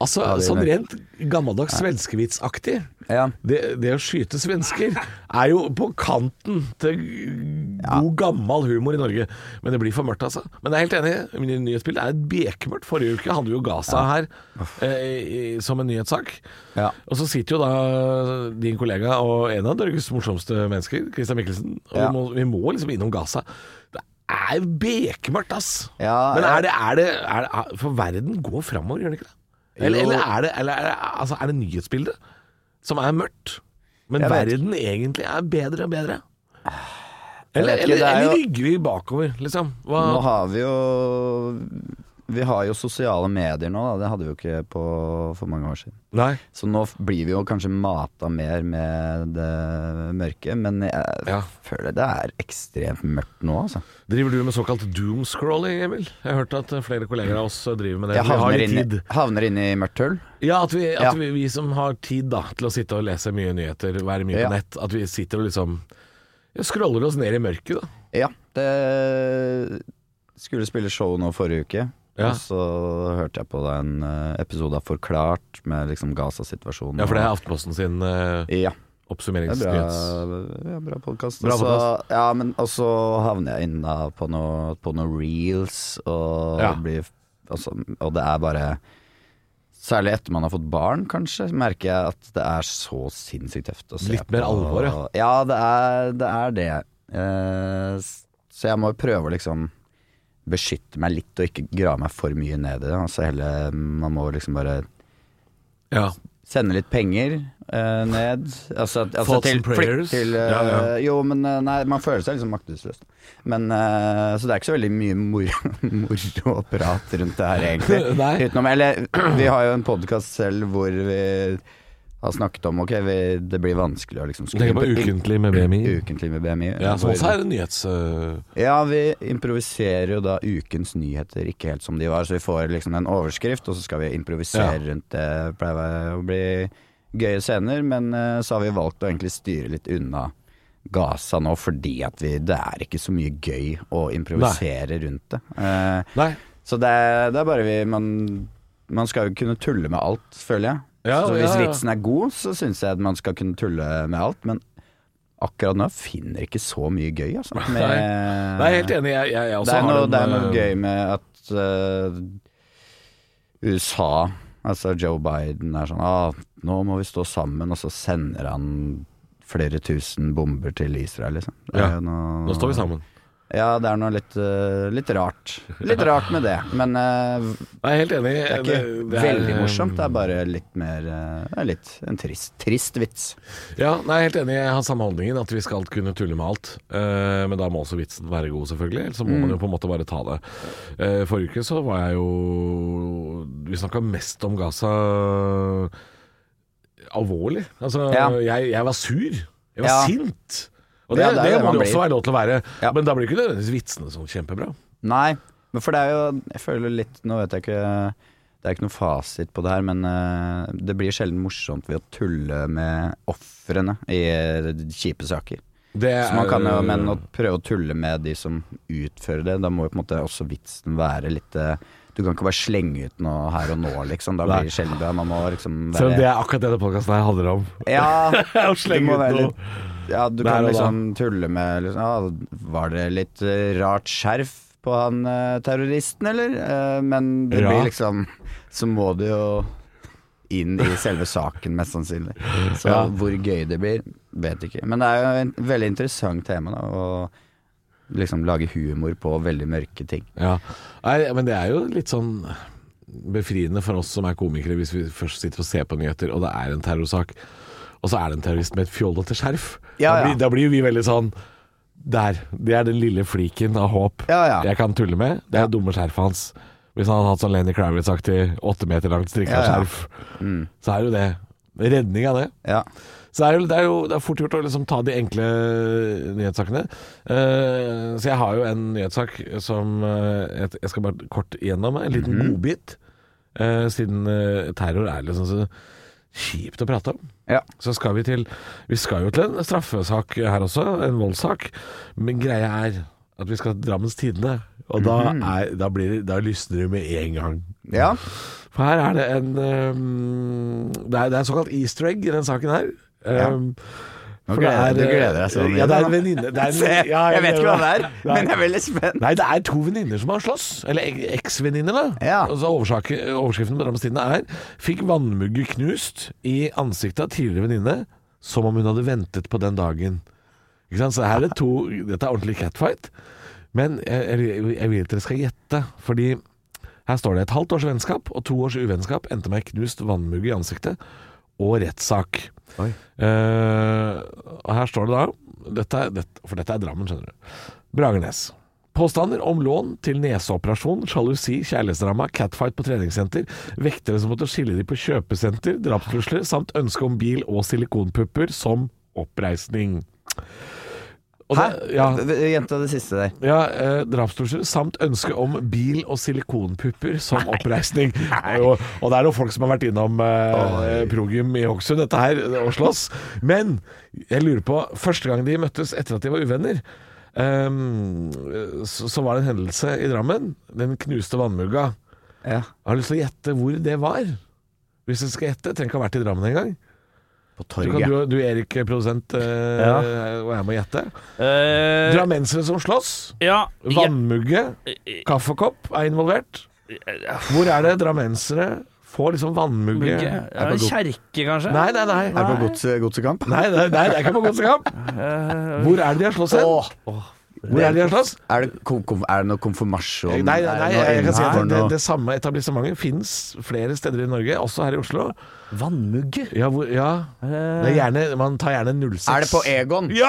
Speaker 4: Altså,
Speaker 7: Ja, det er
Speaker 4: sånn
Speaker 7: mørkt.
Speaker 4: rent gammeldags svenskevitsaktig.
Speaker 7: Ja.
Speaker 4: Det, det å skyte svensker er jo på kanten til god, gammel humor i Norge. Men det blir for mørkt, altså. Men jeg er helt enig. Min nyhetsbilde er et bekmørkt. Forrige uke hadde vi jo Gaza her eh, i- som en nyhetssak.
Speaker 7: Ja.
Speaker 4: Og så sitter jo da din kollega og en av Norges morsomste mennesker, Christian Michelsen. Og
Speaker 7: Ja.
Speaker 4: vi, må, vi må liksom innom Gaza. Det er bekmørkt, ass.
Speaker 7: Ja,
Speaker 4: Men
Speaker 7: ja.
Speaker 4: er det, er det, er det For verden går framover, gjør den ikke det? Eller,
Speaker 7: Jo.
Speaker 4: eller er det, eller er det, altså, er det nyhetsbildet som er mørkt, men
Speaker 7: Jeg vet
Speaker 4: verden egentlig er bedre og bedre?
Speaker 7: Jeg
Speaker 4: Eller,
Speaker 7: vet ikke,
Speaker 4: eller,
Speaker 7: det er
Speaker 4: eller
Speaker 7: jo-
Speaker 4: rygger vi bakover, liksom? Hva,
Speaker 7: Nå har vi jo vi har jo sosiale medier nå, da. Det hadde vi jo ikke på, for mange år siden.
Speaker 4: Nei.
Speaker 7: Så nå f- blir vi jo kanskje mata mer med det mørke, men jeg
Speaker 4: Ja.
Speaker 7: føler det er ekstremt mørkt nå, altså.
Speaker 4: Driver du med såkalt doomscrolling, Emil? Jeg har hørt at eh, flere kolleger av oss eh, driver med det.
Speaker 7: Jeg
Speaker 4: Vi har
Speaker 7: havner
Speaker 4: litt
Speaker 7: inne,
Speaker 4: tid.
Speaker 7: havner inne i mørkt hull.
Speaker 4: Ja, at, vi, at
Speaker 7: Ja.
Speaker 4: Vi, vi som har tid da til å sitte og lese mye nyheter, være mye
Speaker 7: Ja.
Speaker 4: på nett, at vi sitter og liksom ja, scroller oss ned i mørket, da.
Speaker 7: Ja, det skulle spille show nå forrige uke.
Speaker 4: Ja.
Speaker 7: Og så hørte jeg på da en eh, episode av Forklart med liksom Gaza-situasjonen.
Speaker 4: Ja, for det er Aftenposten sin eh,
Speaker 7: Ja, det er bra,
Speaker 4: oppsummeringsnyhets...
Speaker 7: ja, bra podkast.
Speaker 4: Bra podcast. Altså,
Speaker 7: Ja, men og så havner jeg inne da på noe, på noe reels, og,
Speaker 4: Ja.
Speaker 7: blir, altså, og det er bare Særlig etter man har fått barn, kanskje, merker jeg at det er så sinnssykt tøft å se
Speaker 4: Litt mer
Speaker 7: på.
Speaker 4: alvor, ja.
Speaker 7: Ja, det er det. Er det. Eh, s- så jeg må jo prøve å liksom beskytte meg litt og ikke grave meg for mye ned i det. Altså hele, man må liksom bare
Speaker 4: Ja.
Speaker 7: sende litt penger eh, ned. Altså, at- altså
Speaker 4: Thoughts
Speaker 7: til,
Speaker 4: and prayers.
Speaker 7: Til, eh,
Speaker 4: Ja, ja.
Speaker 7: Jo, men eh, nei, man føler seg liksom maktesløs. Men, eh, så det er ikke så veldig mye moro moro og prat rundt det her, egentlig.
Speaker 4: Nei.
Speaker 7: Utenom, eller vi har jo en podkast selv hvor vi har snakket om ok, vi, det blir vanskelig å liksom
Speaker 4: Du tenker på
Speaker 7: imp-
Speaker 4: ukentlig med BMI?
Speaker 7: Ukentlig med BMI.
Speaker 4: Ja, så
Speaker 7: hvor-
Speaker 4: også er det nyhets... eh,
Speaker 7: ja, vi improviserer jo da ukens nyheter ikke helt som de var, så vi får liksom en overskrift, og så skal vi improvisere rundt det. Det pleier å bli gøye scener, men eh, så har vi valgt å egentlig styre litt unna Gaza nå, fordi at vi, det er ikke så mye gøy å improvisere rundt det. Eh,
Speaker 4: Nei.
Speaker 7: så det, er- det er bare vi man, man skal jo kunne tulle med alt, føler jeg.
Speaker 4: Ja,
Speaker 7: så hvis
Speaker 4: ja, ja.
Speaker 7: vitsen er god, så syns jeg at man skal kunne tulle med alt, men akkurat nå finner jeg ikke så mye gøy, altså. Med,
Speaker 4: Nei, jeg er helt enig. Jeg, jeg, jeg også
Speaker 7: det er,
Speaker 4: har
Speaker 7: noe,
Speaker 4: en,
Speaker 7: det er noe
Speaker 4: eh,
Speaker 7: gøy med at eh, USA, altså Joe Biden, er sånn ah, Nå må vi stå sammen, og så sender han flere tusen bomber til Israel, liksom. Det er
Speaker 4: Ja.
Speaker 7: jo noe-
Speaker 4: Nå står vi sammen.
Speaker 7: Ja, det er noe litt, eh, litt rart. Litt rart med det, men eh,
Speaker 4: Nei, jeg er helt enig.
Speaker 7: det er ikke veldig morsomt. Det er bare litt mer eh, Det er litt en trist, trist vits.
Speaker 4: Ja, nei, jeg er helt enig. Jeg har samme holdningen, at vi skal kunne tulle med alt. Eh, men da må også vitsen være god, selvfølgelig. Ellers så må
Speaker 7: Mm.
Speaker 4: man jo på en måte bare ta det. Eh, forrige uke så var jeg jo Vi snakka mest om Gaza eh, alvorlig. Altså,
Speaker 7: Ja.
Speaker 4: jeg, jeg var sur. Jeg var
Speaker 7: Ja.
Speaker 4: sint. Og det,
Speaker 7: Ja, det er
Speaker 4: det,
Speaker 7: det
Speaker 4: må
Speaker 7: man
Speaker 4: det
Speaker 7: blir.
Speaker 4: også være lov til å være.
Speaker 7: Ja.
Speaker 4: Men da blir ikke nødvendigvis vitsene sånn kjempebra.
Speaker 7: Nei, men for det er jo Jeg føler litt Nå vet jeg ikke Det er ikke noe fasit på det her, men eh, det blir sjelden morsomt ved å tulle med ofrene i eh, kjipe saker.
Speaker 4: Det
Speaker 7: Så man kan jo,
Speaker 4: er-
Speaker 7: men å prøve å tulle med de som utfører det, da må jo på en måte også vitsen være litt eh, Du kan ikke bare slenge ut noe her og nå, liksom. Da blir det sjelden bra. Man må liksom
Speaker 4: Selv om det
Speaker 7: være
Speaker 4: er akkurat det denne podkasten her handler om.
Speaker 7: Ja,
Speaker 4: Å
Speaker 7: du
Speaker 4: slenge
Speaker 7: må
Speaker 4: ut
Speaker 7: være
Speaker 4: noe.
Speaker 7: litt Ja, du
Speaker 4: Der og
Speaker 7: kan
Speaker 4: da.
Speaker 7: liksom tulle med liksom, ja, Var det litt eh, rart skjerf på han eh, terroristen, eller? Eh, men det
Speaker 4: Ja.
Speaker 7: blir liksom Så må du jo inn i selve saken, mest sannsynlig. Så
Speaker 4: Ja.
Speaker 7: hvor gøy det blir, vet ikke. Men det er jo et veldig interessant tema, da. Å liksom lage humor på veldig mørke ting.
Speaker 4: Ja. Nei, men det er jo litt sånn befriende for oss som er komikere, hvis vi først sitter og ser på nyheter, og det er en terrorsak, og så er det en terrorist med et fjollete skjerf. da,
Speaker 7: Ja, ja.
Speaker 4: blir, da blir jo vi veldig sånn Der. Det er den lille fliken av håp
Speaker 7: Ja, ja.
Speaker 4: jeg kan tulle med. Det er det dumme skjerfet hans. Hvis han hadde hatt sånn Lenny Kravitz-aktig åtte meter langt strikka
Speaker 7: Ja, ja. Mm.
Speaker 4: skjerf, så er jo det redning av det.
Speaker 7: Ja.
Speaker 4: Så det er jo, det er jo det er fort gjort å liksom ta de enkle nyhetssakene. Eh, så jeg har jo en nyhetssak som eh, jeg, jeg skal bare kort igjennom. En liten godbit. Eh, siden eh, terror er liksom så kjipt å prate om.
Speaker 7: Ja.
Speaker 4: Så skal vi til Vi skal jo til en straffesak her også. En voldssak. Men greia er at vi skal til Drammens Tidende. Og da, er, da, blir, det- da lysner det med en gang.
Speaker 7: ja.
Speaker 4: For her er det en ehm, det, er, det er såkalt easter egg i den saken her. Ehm,
Speaker 7: Nå
Speaker 4: for det
Speaker 7: gleder-
Speaker 4: er,
Speaker 7: du gleder deg så mye
Speaker 4: Ja, det er
Speaker 7: nå.
Speaker 4: en venninne det er en-
Speaker 7: Se,
Speaker 4: ja,
Speaker 7: jeg vet ikke hva det er,
Speaker 4: Nei.
Speaker 7: men jeg er veldig spent.
Speaker 4: Nei, det er to venninner som har slåss. Eller ek- eksvenninner, da.
Speaker 7: Ja.
Speaker 4: Og så oversake- Altså, overskriften på Drammens Tidende er 'Fikk vannmugge knust i ansiktet av tidligere venninne som om hun hadde ventet på den dagen'. Ikke sant? Så her er det to Dette er ordentlig catfight. Men jeg, jeg, jeg vil at dere skal gjette, fordi her står det et halvt års vennskap og to års uvennskap endte med ei knust vannmugge i ansiktet og rettssak.
Speaker 7: Oi.
Speaker 4: Eh, og her står det da dette, er- dette, For dette er Drammen, skjønner du. Bragernes. Påstander om lån til neseoperasjon, sjalusi, kjærlighetsdrama, catfight på treningssenter, vektere som måtte skille de på kjøpesenter, drapstrusler samt ønske om bil og silikonpupper som oppreisning. Og
Speaker 7: Hæ?
Speaker 4: det- Ja,
Speaker 7: Gjenta det siste der.
Speaker 4: ja, eh, drapstrusler samt ønske om bil og silikonpupper som oppreisning. Og, og det er jo folk som har vært innom eh, Progium i Hokksund, dette her, og slåss. Men jeg lurer på Første gang de møttes etter at de var uvenner, eh, så, så var det en hendelse i Drammen. Den knuste vannmugga.
Speaker 7: Ja.
Speaker 4: Jeg har lyst til å gjette hvor det var. Hvis jeg skal gjette, trenger ikke ha vært i Drammen engang.
Speaker 7: På
Speaker 4: Så kan Du, du Erik, produsent, eh,
Speaker 6: Ja.
Speaker 4: og jeg må gjette.
Speaker 6: Eh,
Speaker 4: Drammensere som slåss.
Speaker 6: ja,
Speaker 4: Vannmugge.
Speaker 6: ja,
Speaker 4: Kaffekopp er involvert. Hvor er det drammensere får liksom vannmugge?
Speaker 6: Mugge.
Speaker 4: Er
Speaker 6: Ja,
Speaker 4: på god-
Speaker 6: Kjerke, kanskje?
Speaker 4: Nei, nei, nei.
Speaker 7: Er det på gods- godsekamp?
Speaker 4: Nei, nei, nei, det er ikke på godsekamp. Hvor er det de har slåss hen?
Speaker 7: Åh.
Speaker 4: Hvor er det de har slåss?
Speaker 7: Er det, kom, kom, er det noe konfirmasjon?
Speaker 4: Nei, nei, nei,
Speaker 7: Er det noe
Speaker 4: jeg kan si at
Speaker 7: innenfor
Speaker 4: det,
Speaker 7: noe-
Speaker 4: det samme etablissementet fins flere steder i Norge, også her i Oslo.
Speaker 6: Vannmugge?
Speaker 4: Ja, hvor, ja. Det er gjerne, man tar gjerne 06.
Speaker 7: Er det på E- Egon?
Speaker 4: De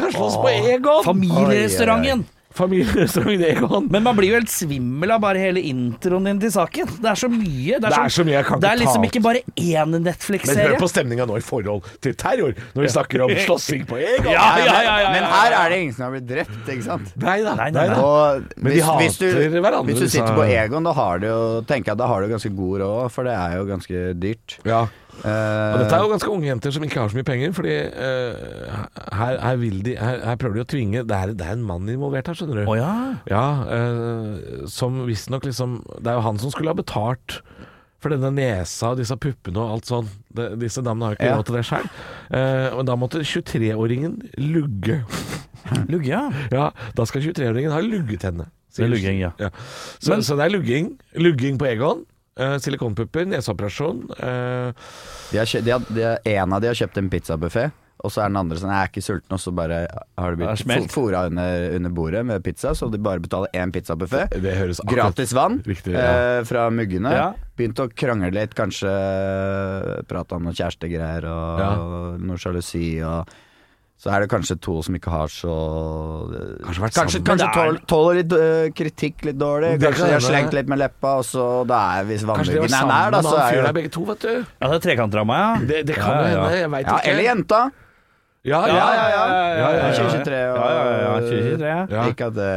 Speaker 4: har slåss på Egon!
Speaker 6: Familierestauranten!
Speaker 4: Familierestaurant Egon.
Speaker 6: Men man blir jo helt svimmel av bare hele introen din til saken. Det er så mye. Det er,
Speaker 4: Det er
Speaker 6: sånn-
Speaker 4: så mye jeg kan
Speaker 6: det er
Speaker 4: ikke ta opp.
Speaker 6: liksom ikke bare én
Speaker 4: Men hør
Speaker 6: Netflix-serie.
Speaker 4: på stemninga nå i forhold til terror, når vi snakker om slåssing på Egon.
Speaker 6: Ja, ja, ja, ja,
Speaker 7: Men
Speaker 6: ja.
Speaker 7: her er det ingen som har blitt drept, ikke sant?
Speaker 4: Nei da.
Speaker 6: Nei, nei,
Speaker 4: nei da.
Speaker 6: nei.
Speaker 7: Og
Speaker 4: Men de hater hverandre,
Speaker 7: Hvis du
Speaker 4: disse-
Speaker 7: sitter på Egon, da har du jo tenker jeg, at da har du ganske god råd, for det er jo ganske dyrt.
Speaker 4: Ja.
Speaker 7: Eh,
Speaker 4: Og dette er jo ganske unge jenter som ikke har så mye penger, fordi eh, her, her, vil de, her, her prøver de å tvinge Det er, det er en mann involvert her, skjønner du.
Speaker 6: Å ja.
Speaker 4: eh, som visstnok liksom Det er jo han som skulle ha betalt for denne nesa og disse puppene og alt sånn. De, disse damene har jo ikke
Speaker 7: Ja.
Speaker 4: råd til det sjøl. men da måtte 23-åringen lugge.
Speaker 6: Lugge, ja.
Speaker 4: Ja, da skal 23-åringen ha lugget henne.
Speaker 6: Det er lugging, ja.
Speaker 4: Så, så det er lugging. Lugging på Egon. eh, silikonpupper, neseoperasjon. eh,
Speaker 7: de har kjø- de har, de har, en av de har kjøpt en pizzabuffé, og så er den andre sånn Jeg er ikke sulten, og så bare har de
Speaker 6: Ja,
Speaker 7: blitt
Speaker 6: smelt.
Speaker 7: fo- fora under, under bordet med pizza, så de bare betaler én pizzabuffé.
Speaker 4: det høres akkurat
Speaker 7: Gratis vann
Speaker 4: Riktig, ja.
Speaker 7: eh, fra muggene.
Speaker 6: Ja.
Speaker 7: Begynte å krangle litt, kanskje eh, prate om noen kjærestegreier og,
Speaker 4: Ja.
Speaker 7: og noe sjalusi og Så er det kanskje to som ikke har så eh,
Speaker 4: Kanskje vært
Speaker 7: Kanskje,
Speaker 4: sammen.
Speaker 7: kanskje
Speaker 6: Men det er-
Speaker 7: tål, tåler litt eh, kritikk litt dårlig.
Speaker 4: Det kan
Speaker 7: Kanskje de har
Speaker 4: hende.
Speaker 7: slengt litt med leppa, og så da er hvis
Speaker 4: Kanskje de
Speaker 7: vannmuggen
Speaker 4: var
Speaker 7: er
Speaker 4: sammen
Speaker 7: nær,
Speaker 4: med
Speaker 7: da,
Speaker 4: en
Speaker 7: så
Speaker 4: annen
Speaker 7: er
Speaker 4: fyr
Speaker 7: jo
Speaker 4: der, begge to, vet du.
Speaker 6: ja det er trekantdrama, ja.
Speaker 4: Det, det kan
Speaker 6: Ja,
Speaker 4: jo
Speaker 6: ja.
Speaker 4: hende, jeg veit
Speaker 7: ja,
Speaker 4: ikke.
Speaker 7: Eller jenta.
Speaker 4: Ja, ja,
Speaker 7: Ja, ja, ja.
Speaker 4: ja, ja, ja.
Speaker 7: 2023 og
Speaker 6: Ja, ja, ja, 2023, ja.
Speaker 4: Ja.
Speaker 7: Ikke at det,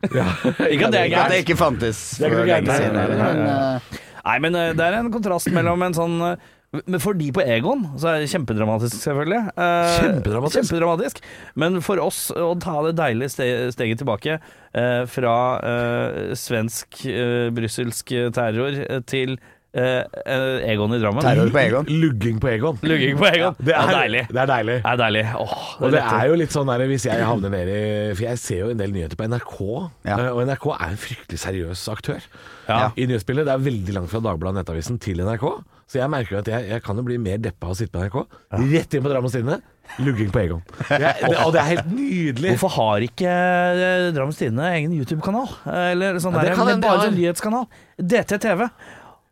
Speaker 6: Eh, Ikke at det er
Speaker 7: ikke at det
Speaker 6: gærent.
Speaker 7: ikke fantes
Speaker 4: er ikke
Speaker 7: for
Speaker 4: noe gærent.
Speaker 7: lenge siden
Speaker 4: Nei,
Speaker 7: heller,
Speaker 6: nei,
Speaker 7: men eh,
Speaker 6: Nei, men eh, det er en kontrast mellom en sånn eh, men for de på Egon så er det kjempedramatisk, selvfølgelig. Eh,
Speaker 4: Kjempedramatisk?
Speaker 6: kjempedramatisk. Men for oss å ta det deilige ste steget tilbake eh, fra eh, svensk, eh, brysselsk terror eh, til eh, eh, Egon i Drammen
Speaker 7: Terror på Egon.
Speaker 4: Lugging på Egon.
Speaker 6: Lugging på Egon.
Speaker 4: Det er
Speaker 6: deilig.
Speaker 4: Det er deilig.
Speaker 6: Det er deilig. Åh,
Speaker 4: Og det
Speaker 6: letter.
Speaker 4: er jo litt sånn der, hvis jeg havner ned i For jeg ser jo en del nyheter på NRK,
Speaker 7: Ja.
Speaker 4: eh, og NRK er en fryktelig seriøs aktør
Speaker 6: Ja.
Speaker 4: i nyhetsbildet. Det er veldig langt fra Dagbladet Nettavisen til NRK, så jeg merker jo at jeg, jeg kan jo bli mer deppa av å sitte på NRK. Rett inn på Drammens Tidende, lugging på Egon. Jeg, det, og det er helt nydelig.
Speaker 6: Hvorfor har ikke eh, Drammens Tidende egen YouTube-kanal? Eller sånn
Speaker 4: Ja, det
Speaker 6: der,
Speaker 4: kan
Speaker 6: men
Speaker 4: hende de
Speaker 6: bare
Speaker 4: har.
Speaker 6: sånn nyhetskanal? DTTV.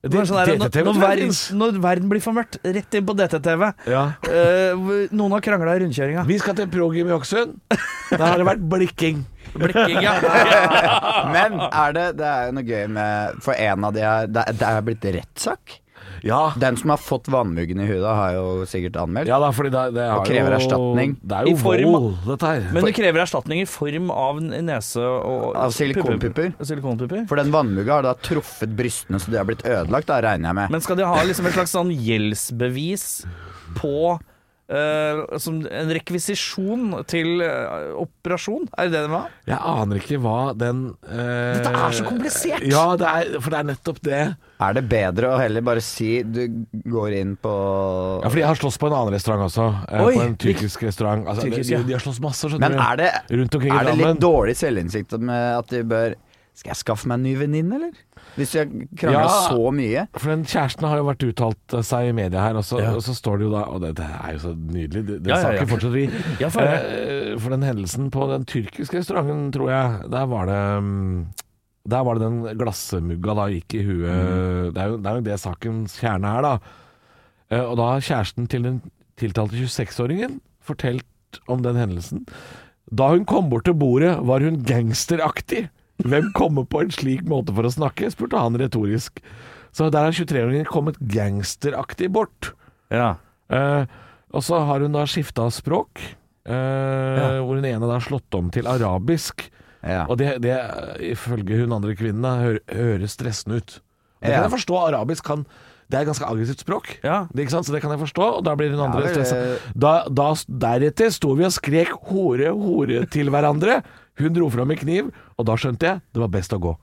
Speaker 6: Det
Speaker 4: Det-
Speaker 6: er sånn der,
Speaker 4: DTTV
Speaker 6: når, når,
Speaker 4: tror jeg
Speaker 6: verden,
Speaker 4: finnes.
Speaker 6: når verden blir for mørkt, rett inn på DTTV.
Speaker 4: Ja.
Speaker 6: Eh, hvor- noen har krangla i rundkjøringa.
Speaker 4: Vi skal til Progym i Hokksund. Der har det vært blikking.
Speaker 6: Blikking, ja.
Speaker 7: Men er det, det er jo noe gøy med For en av de her Det, det er blitt rettssak.
Speaker 4: Ja,
Speaker 7: Den som har fått vannmuggen i huet, har jo sikkert anmeldt.
Speaker 4: Ja da, fordi det, det har
Speaker 7: Og krever
Speaker 4: jo,
Speaker 7: erstatning.
Speaker 4: Det er jo
Speaker 6: I form-
Speaker 4: vold, dette her.
Speaker 6: Men det krever erstatning i form av nese og
Speaker 7: Av silikonpupper.
Speaker 6: pupper. Silikonpupper.
Speaker 7: For den vannmugga har da truffet brystene, så de har blitt ødelagt, da regner jeg med.
Speaker 6: Men skal de ha liksom et slags sånn gjeldsbevis på eh, som en rekvisisjon til eh, operasjon? Er det det de vil ha?
Speaker 4: jeg aner ikke hva den eh,
Speaker 6: Dette er så komplisert!
Speaker 4: Ja, det er, for det er nettopp det.
Speaker 7: er det bedre å heller bare si du går inn på
Speaker 4: Ja, fordi jeg har slåss på en annen restaurant også. eh,
Speaker 6: Oi!
Speaker 4: på en tyrkisk restaurant. Altså,
Speaker 6: Tyrkisk,
Speaker 4: de,
Speaker 6: ja.
Speaker 4: de har slåss masse, skjønner
Speaker 7: Men er det,
Speaker 4: du. Rundt omkring i
Speaker 7: er det litt
Speaker 4: Drammen.
Speaker 7: dårlig selvinnsikt med at de bør Skal jeg skaffe meg en ny venninne, eller? Hvis jeg krangler
Speaker 4: Ja.
Speaker 7: så mye.
Speaker 4: For den kjæresten har jo vært uttalt eh, seg i media her, og så, og så står det jo da Og det, det er jo så nydelig, det- den
Speaker 6: Ja, ja, ja.
Speaker 4: saken fortsetter vi.
Speaker 6: Ja, for-
Speaker 4: Eh, for den hendelsen på den tyrkiske restauranten, tror jeg, der var det mm, der var det den glassmugga da gikk i huet Det er jo det, er jo det sakens kjerne er, da. Eh, Og da har kjæresten til den tiltalte 26-åringen fortalt om den hendelsen. Da hun kom bort til bordet, var hun gangsteraktig. Hvem kommer på en slik måte for å snakke? spurte han retorisk. Så der har 23-åringen kommet gangsteraktig bort.
Speaker 6: Ja.
Speaker 4: Eh, og så har hun da skifta språk, eh, hvor hun ene da har slått om til arabisk.
Speaker 7: Ja.
Speaker 4: Og det, det ifølge hun andre kvinnen, da, hø høres stressende ut. Det kan
Speaker 7: Ja.
Speaker 4: jeg forstå. Arabisk kan Det er et ganske aggressivt språk.
Speaker 6: Ja.
Speaker 4: Det, ikke sant? Så det kan jeg forstå, og da blir hun andre
Speaker 7: vel,
Speaker 4: stressa.
Speaker 7: eh.
Speaker 4: Da, da, deretter sto vi og skrek 'hore, hore' til hverandre. Hun dro fram en kniv, og da skjønte jeg det var best å gå.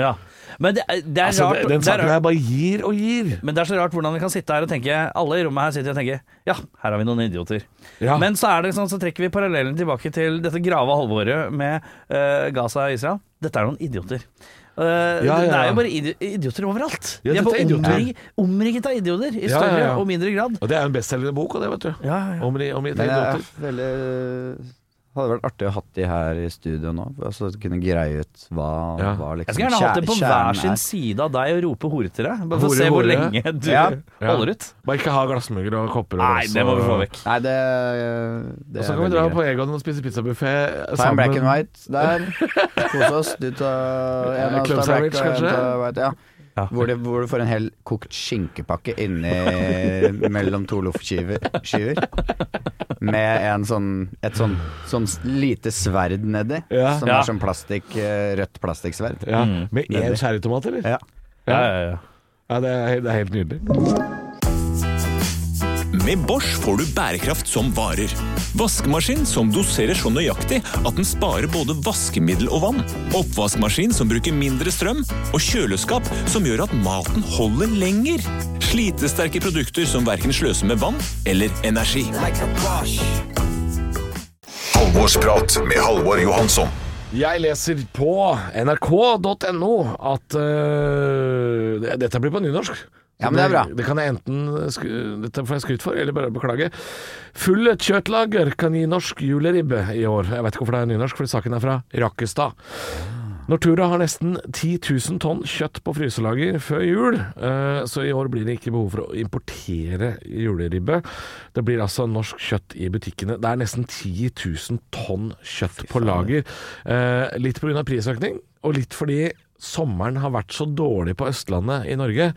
Speaker 6: ja. Men det, er- det er
Speaker 4: Altså, den
Speaker 6: rart det er
Speaker 4: saken
Speaker 6: rart-
Speaker 4: her bare gir og gir.
Speaker 6: Men det er så rart hvordan vi kan sitte her og tenke Alle i rommet her sitter og tenker Ja, her har vi noen idioter
Speaker 4: Ja.
Speaker 6: Men så, er det sånn, så trekker vi parallellen tilbake til Dette grava halvåret med eh, Gaza og Israel Dette er noen idioter Eh,
Speaker 4: Ja,
Speaker 6: Det
Speaker 4: ja.
Speaker 6: er jo bare idi idioter overalt
Speaker 4: Ja,
Speaker 6: De er
Speaker 4: dette
Speaker 6: bare
Speaker 4: er idioter.
Speaker 6: omrig omriget av idioter I
Speaker 4: Ja,
Speaker 6: større
Speaker 4: ja, ja.
Speaker 6: og mindre grad
Speaker 4: Og det er jo en bestselgende bok, og det, vet du.
Speaker 6: ja, ja.
Speaker 4: Om de, om de
Speaker 7: Men
Speaker 4: tre
Speaker 6: eh,
Speaker 7: jeg
Speaker 4: idioter.
Speaker 7: er veldig Hadde vært artig å hatt de her i studio nå, for altså kunne greie ut hva,
Speaker 4: Ja.
Speaker 7: hva liksom
Speaker 6: Jeg skal gjerne ha hatt det på
Speaker 7: kjer-
Speaker 6: hver sin
Speaker 7: kjernen
Speaker 6: side av deg Og rope hore til deg Bare
Speaker 4: Hore,
Speaker 6: for å se hvor
Speaker 4: hore.
Speaker 6: lenge du
Speaker 7: Ja.
Speaker 6: holder ut
Speaker 4: Bare ikke ha glassmugger og kopper og
Speaker 6: Nei,
Speaker 4: glass
Speaker 6: det må
Speaker 4: og-
Speaker 6: vi få vekk
Speaker 7: er. Nei, det, det
Speaker 4: Og så
Speaker 7: er
Speaker 4: kan vi
Speaker 7: veldig
Speaker 4: dra
Speaker 7: greit.
Speaker 4: på Egon og spise pizzabuffé
Speaker 7: Ta en black
Speaker 4: sammen.
Speaker 7: and white der. Kose oss. Du tar en av
Speaker 4: Club
Speaker 7: tar black
Speaker 4: sandwich,
Speaker 7: og en
Speaker 4: kanskje?
Speaker 7: tar white. Ja.
Speaker 6: Ja.
Speaker 7: Hvor, det, hvor du får en hel kokt skinkepakke inni mellom to loffskiver. skiver. Med en sånn, et sånn, sånn s- lite sverd nedi,
Speaker 4: Ja.
Speaker 7: som
Speaker 6: Ja.
Speaker 7: er sånn plastikk, eh, rødt plastikksverd.
Speaker 4: Ja,
Speaker 6: Mm.
Speaker 4: Med én
Speaker 7: Nydelig.
Speaker 4: cherrytomat, eller?
Speaker 7: Ja.
Speaker 6: ja, ja, ja.
Speaker 4: Ja, det er, det er helt nydelig.
Speaker 2: Med Bosch får du bærekraft som varer. Vaskemaskin som doserer så nøyaktig at den sparer både vaskemiddel og vann. Oppvaskmaskin som bruker mindre strøm. Og kjøleskap som gjør at maten holder lenger. Slitesterke produkter som verken sløser med vann eller energi.
Speaker 5: Halvorsprat med Halvor Johansson.
Speaker 4: Jeg leser på nrk.no at øh, det- Dette blir på nynorsk.
Speaker 7: Ja, men det er bra.
Speaker 4: Det, kan jeg enten sku, Dette får jeg skryt for, eller bare beklage. Full kjøttlager kan gi norsk juleribbe i år. Jeg vet ikke hvorfor det er nynorsk, fordi saken er fra Rakkestad. Nortura har nesten 10 000 tonn kjøtt på fryselager før jul, eh, så i år blir det ikke behov for å importere juleribbe. Det blir altså norsk kjøtt i butikkene. Det er nesten 10 000 tonn kjøtt på lager. Eh, Litt pga. prisøkning, og litt fordi sommeren har vært så dårlig på Østlandet i Norge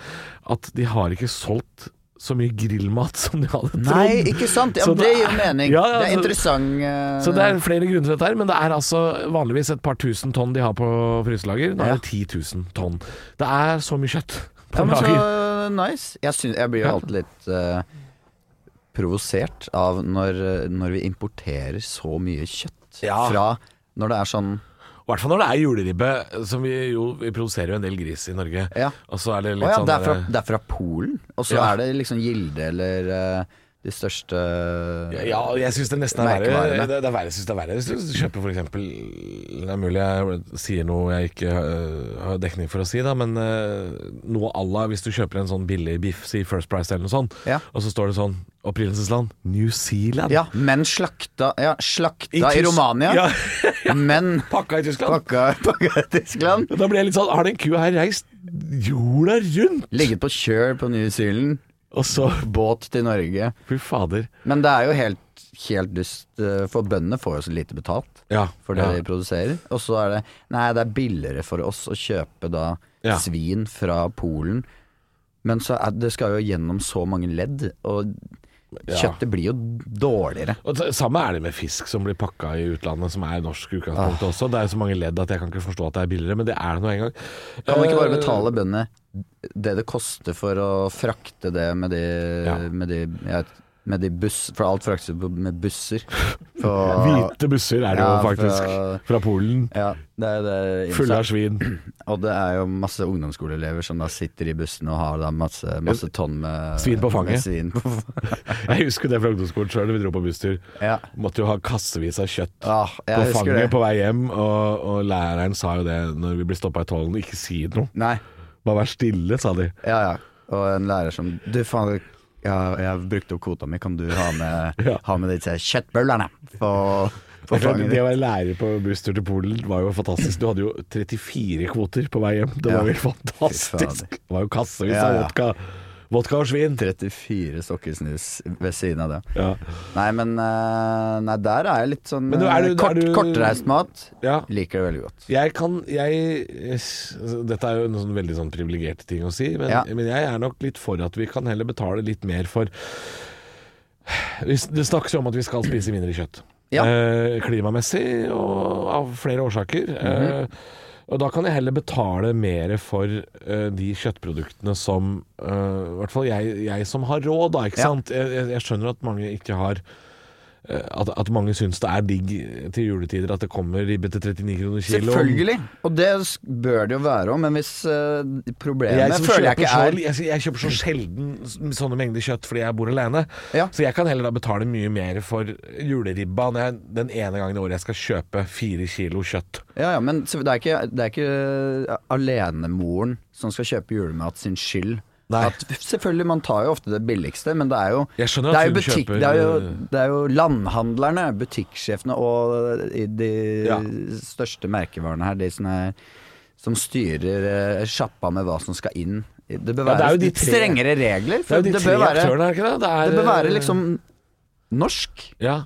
Speaker 4: at de har ikke solgt så mye grillmat som de hadde trodd.
Speaker 7: Nei, ikke sant? Ja,
Speaker 4: Så
Speaker 7: det
Speaker 4: det
Speaker 7: gir jo mening.
Speaker 4: Ja, ja,
Speaker 7: det er
Speaker 4: så-
Speaker 7: interessant. eh,
Speaker 4: Så det er flere grunner til dette her, men det er altså vanligvis et par tusen tonn de har på fryselager. Nå
Speaker 7: Ja.
Speaker 4: er det 10 000 tonn. Det er så mye kjøtt på
Speaker 7: Ja, men
Speaker 4: lager.
Speaker 7: så nice. Jeg, syns- jeg blir jo alltid litt eh, provosert av når, eh, når vi importerer så mye kjøtt
Speaker 4: Ja.
Speaker 7: fra når det er sånn
Speaker 4: I hvert fall når det er juleribbe, som vi jo vi produserer jo en del gris i Norge.
Speaker 7: Ja.
Speaker 4: Og så er det
Speaker 7: Å
Speaker 4: litt
Speaker 7: ja,
Speaker 4: sånn
Speaker 7: det er fra,
Speaker 4: derre-
Speaker 7: det er fra Polen, og så
Speaker 4: Ja.
Speaker 7: er det liksom Gilde eller eh, de største
Speaker 4: ja, jeg syns det nesten er verre.
Speaker 7: Merkevarene.
Speaker 4: Det, det er verre, jeg synes det er verre. Hvis du kjøper for eksempel Det er mulig jeg sier noe jeg ikke øh, har dekning for å si, da, men øh, noe à la hvis du kjøper en sånn billig biff, si First Price eller noe sånt,
Speaker 7: Ja.
Speaker 4: og så står det sånn opprinnelsesland New Zealand.
Speaker 7: Ja, men slakta Ja, slakta i,
Speaker 4: Tys-
Speaker 7: Romania,
Speaker 4: Ja,
Speaker 7: men
Speaker 4: pakka i Tyskland.
Speaker 7: pakka, pakka i Tyskland.
Speaker 4: Da blir jeg litt sånn Har den kua her reist jorda rundt?
Speaker 7: Ligget på kjøl på New Zealand,
Speaker 4: Og så
Speaker 7: båt til Norge.
Speaker 4: Fy fader.
Speaker 7: Men det er jo helt, helt dust, eh, for bøndene får jo så lite betalt.
Speaker 4: Ja.
Speaker 7: for det de produserer. Og så er det Nei, det er billigere for oss å kjøpe da
Speaker 4: Ja.
Speaker 7: svin fra Polen. Men så er, det skal jo gjennom så mange ledd, og
Speaker 4: Ja.
Speaker 7: kjøttet blir jo dårligere.
Speaker 4: Og det samme er det med fisk som blir pakka i utlandet, som er norsk utgangspunkt
Speaker 7: Ah.
Speaker 4: også. Det er så mange ledd at jeg kan ikke forstå at det er billigere, men det er det nå engang.
Speaker 7: Kan man ikke bare
Speaker 4: Eh,
Speaker 7: betale bøndene det det koster for å frakte det med de,
Speaker 4: Ja.
Speaker 7: med de, ja, med de buss... For alt fraktes jo med busser. For,
Speaker 4: Hvite busser er det
Speaker 7: Ja,
Speaker 4: jo faktisk.
Speaker 7: fra-
Speaker 4: Fra, Polen.
Speaker 7: ja, det er det
Speaker 4: Fulle av svin.
Speaker 7: Og det er jo masse ungdomsskoleelever som da sitter i bussen og har da masse, masse tonn med
Speaker 4: Svin på fanget.
Speaker 7: med Svin på fanget.
Speaker 4: Jeg husker det fra ungdomsskolen sjøl, da vi dro på busstur.
Speaker 7: Ja.
Speaker 4: Måtte jo ha kassevis av kjøtt.
Speaker 7: Ah,
Speaker 4: På
Speaker 7: jeg husker
Speaker 4: fanget
Speaker 7: det.
Speaker 4: på vei hjem, og, og læreren sa jo det når vi ble stoppa i tollen. Ikke si noe,
Speaker 7: Nei,
Speaker 4: bare vær stille, sa de.
Speaker 7: ja ja. Og en lærer som Du faen, jeg, jeg brukte opp kvota mi, kan du ha med,
Speaker 4: Ja.
Speaker 7: ha med disse kjøttbøllene på,
Speaker 4: Det
Speaker 7: på
Speaker 4: er klart,
Speaker 7: fanget
Speaker 4: Det
Speaker 7: ditt?
Speaker 4: å være lærer på busstur til Polen var jo fantastisk. Du hadde jo 34 kvoter på vei hjem. Det
Speaker 7: Ja.
Speaker 4: var jo helt
Speaker 7: Fy
Speaker 4: fantastisk.
Speaker 7: fader.
Speaker 4: Det var jo kassevis
Speaker 7: Ja,
Speaker 4: av
Speaker 7: ja.
Speaker 4: vodka. Vodka og svin.
Speaker 7: 34 sokkesnus ved siden av det.
Speaker 4: Ja.
Speaker 7: Nei, men eh, Nei, der er jeg litt sånn
Speaker 4: Men du, er
Speaker 7: eh,
Speaker 4: du- er
Speaker 7: kort,
Speaker 4: du-
Speaker 7: Kortreist mat.
Speaker 4: ja.
Speaker 7: Liker det veldig godt.
Speaker 4: Jeg kan jeg, altså, Dette er jo en sånn veldig sånn privilegert ting å si, men,
Speaker 7: Ja.
Speaker 4: men jeg er nok litt for at vi kan heller betale litt mer for Vi s- Det snakkes jo om at vi skal spise mindre kjøtt.
Speaker 7: Ja.
Speaker 4: Eh, klimamessig og av flere årsaker.
Speaker 7: Mhm.
Speaker 4: eh, og da kan jeg heller betale mer for eh, de kjøttproduktene som eh, I hvert fall jeg, jeg som har råd, da. Ikke
Speaker 7: Ja.
Speaker 4: sant? Jeg, jeg- jeg skjønner at mange ikke har eh, at, at mange syns det er digg til juletider at det kommer ribbe til 39 kroner kiloen.
Speaker 7: Selvfølgelig. Og det s- bør det jo være òg, men hvis eh, problemet
Speaker 4: Jeg, som
Speaker 7: føler jeg
Speaker 4: kjøper sånn
Speaker 7: ikke
Speaker 4: så,
Speaker 7: er
Speaker 4: jeg, jeg kjøper så sjelden s- sånne mengder kjøtt fordi jeg bor alene.
Speaker 7: Ja.
Speaker 4: Så jeg kan heller da betale mye mer for juleribba når jeg, den ene gangen i året jeg skal kjøpe fire kilo kjøtt.
Speaker 7: Ja, ja, men så det er ikke, det er ikke eh, alenemoren som skal kjøpe julemat sin skyld.
Speaker 4: Nei.
Speaker 7: At, selvfølgelig, man tar jo ofte det billigste, men det er jo
Speaker 4: Jeg skjønner
Speaker 7: det
Speaker 4: at
Speaker 7: er jo,
Speaker 4: hun
Speaker 7: butikk,
Speaker 4: kjøper eh,
Speaker 7: det, er jo, det er jo landhandlerne, butikksjefene og eh, i de
Speaker 4: Ja.
Speaker 7: største merkevarene her, de som, er, som styrer eh, sjappa med hva som skal inn. Det
Speaker 4: Ja, det
Speaker 7: bør være
Speaker 4: er jo de
Speaker 7: litt
Speaker 4: tre-
Speaker 7: strengere regler.
Speaker 4: Det er
Speaker 7: For
Speaker 4: jo de
Speaker 7: det,
Speaker 4: tre
Speaker 7: bør være,
Speaker 4: aktørene, er det ikke det? Det, er,
Speaker 7: det bør være
Speaker 4: eh,
Speaker 7: liksom norsk,
Speaker 4: Ja.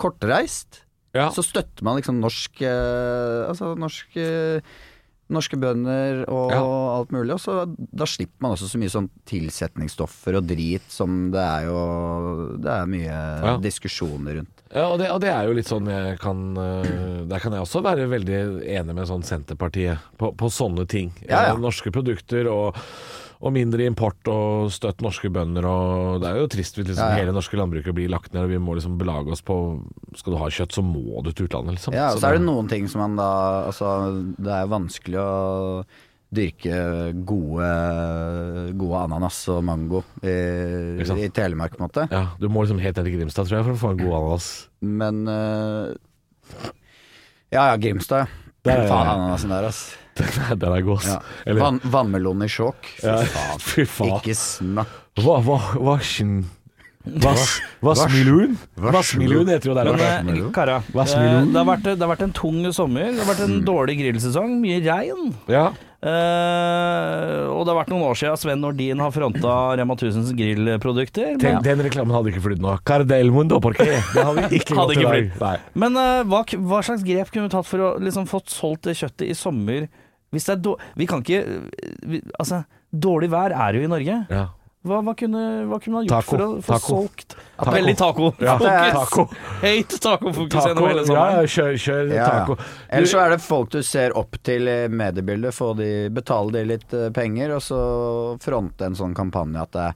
Speaker 7: kortreist.
Speaker 4: ja.
Speaker 7: Så støtter man liksom norsk eh, Altså norsk eh, Norske bønder og
Speaker 4: Ja.
Speaker 7: alt mulig. Og så, da slipper man også så mye sånn tilsetningsstoffer og drit som det er jo Det er mye
Speaker 4: Ja.
Speaker 7: diskusjoner rundt.
Speaker 4: Ja, og det, og det er jo litt sånn jeg kan eh, Der kan jeg også være veldig enig med sånn Senterpartiet på, på sånne ting.
Speaker 7: Ja, ja.
Speaker 4: Eh, Norske produkter og, og mindre import og støtt norske bønder og Det er jo trist hvis liksom
Speaker 7: Ja, ja.
Speaker 4: hele norske landbruket blir lagt ned og vi må liksom belage oss på Skal du ha kjøtt, så må du til utlandet, liksom.
Speaker 7: Ja, og
Speaker 4: Så
Speaker 7: så er det
Speaker 4: det-
Speaker 7: noen ting som man da Altså, det er jo vanskelig å dyrke gode, gode ananas og mango i,
Speaker 4: Ikke sant?
Speaker 7: i Telemark, på en måte.
Speaker 4: ja, du må liksom helt ned til Grimstad, tror jeg, for å få en god ananas.
Speaker 7: Men eh, Ja ja, Grimstad, ja.
Speaker 4: Der er-
Speaker 7: Faen, ananasen der, ass.
Speaker 4: Nei, Den er god, ass.
Speaker 7: Ja.
Speaker 4: Eller-
Speaker 7: Vann, vannmelon i sjokk. Fy
Speaker 4: Ja,
Speaker 7: faen.
Speaker 4: Fy faen.
Speaker 7: Ikke snakk.
Speaker 4: Hva, hva, vasjen Vas, Vassmiljøen? Vassmiljøen heter jo der oppe.
Speaker 6: Men eh, Kara, eh,
Speaker 4: Hva
Speaker 6: det
Speaker 4: smiler du?
Speaker 6: har, vært, det har vært en tung sommer. Det har vært en
Speaker 4: Mm.
Speaker 6: dårlig grillsesong. Mye regn.
Speaker 4: Ja.
Speaker 6: Eh, og det har vært noen år siden Sven Nordin har fronta Rema 1000s grillprodukter.
Speaker 4: Den,
Speaker 6: Men,
Speaker 4: den reklamen hadde ikke flydd nå. Cardelmundo, por qué? Det hadde ikke
Speaker 6: Hadde
Speaker 4: gått i
Speaker 6: ikke
Speaker 4: dag. Nei.
Speaker 6: men eh, hva, hva slags grep kunne du tatt for å liksom, fått solgt det kjøttet i sommer? Hvis det er dår- vi kan ikke vi, Altså, dårlig vær er jo i Norge.
Speaker 4: Ja.
Speaker 6: Hva, hva, kunne, hva kunne man gjort
Speaker 4: Taco.
Speaker 6: for å få
Speaker 4: Taco.
Speaker 6: solgt Veldig taco.
Speaker 4: Ja,
Speaker 6: Fokus.
Speaker 4: taco.
Speaker 6: Høyt tacofokus
Speaker 4: Taco,
Speaker 6: gjennom hele
Speaker 4: ja,
Speaker 6: sommeren.
Speaker 4: ja, kjør, kjør
Speaker 7: Ja, ja.
Speaker 4: taco.
Speaker 7: Ellers så er det folk du ser opp til i mediebildet, få de, betale de litt eh, penger, og så fronte en sånn kampanje at det, er-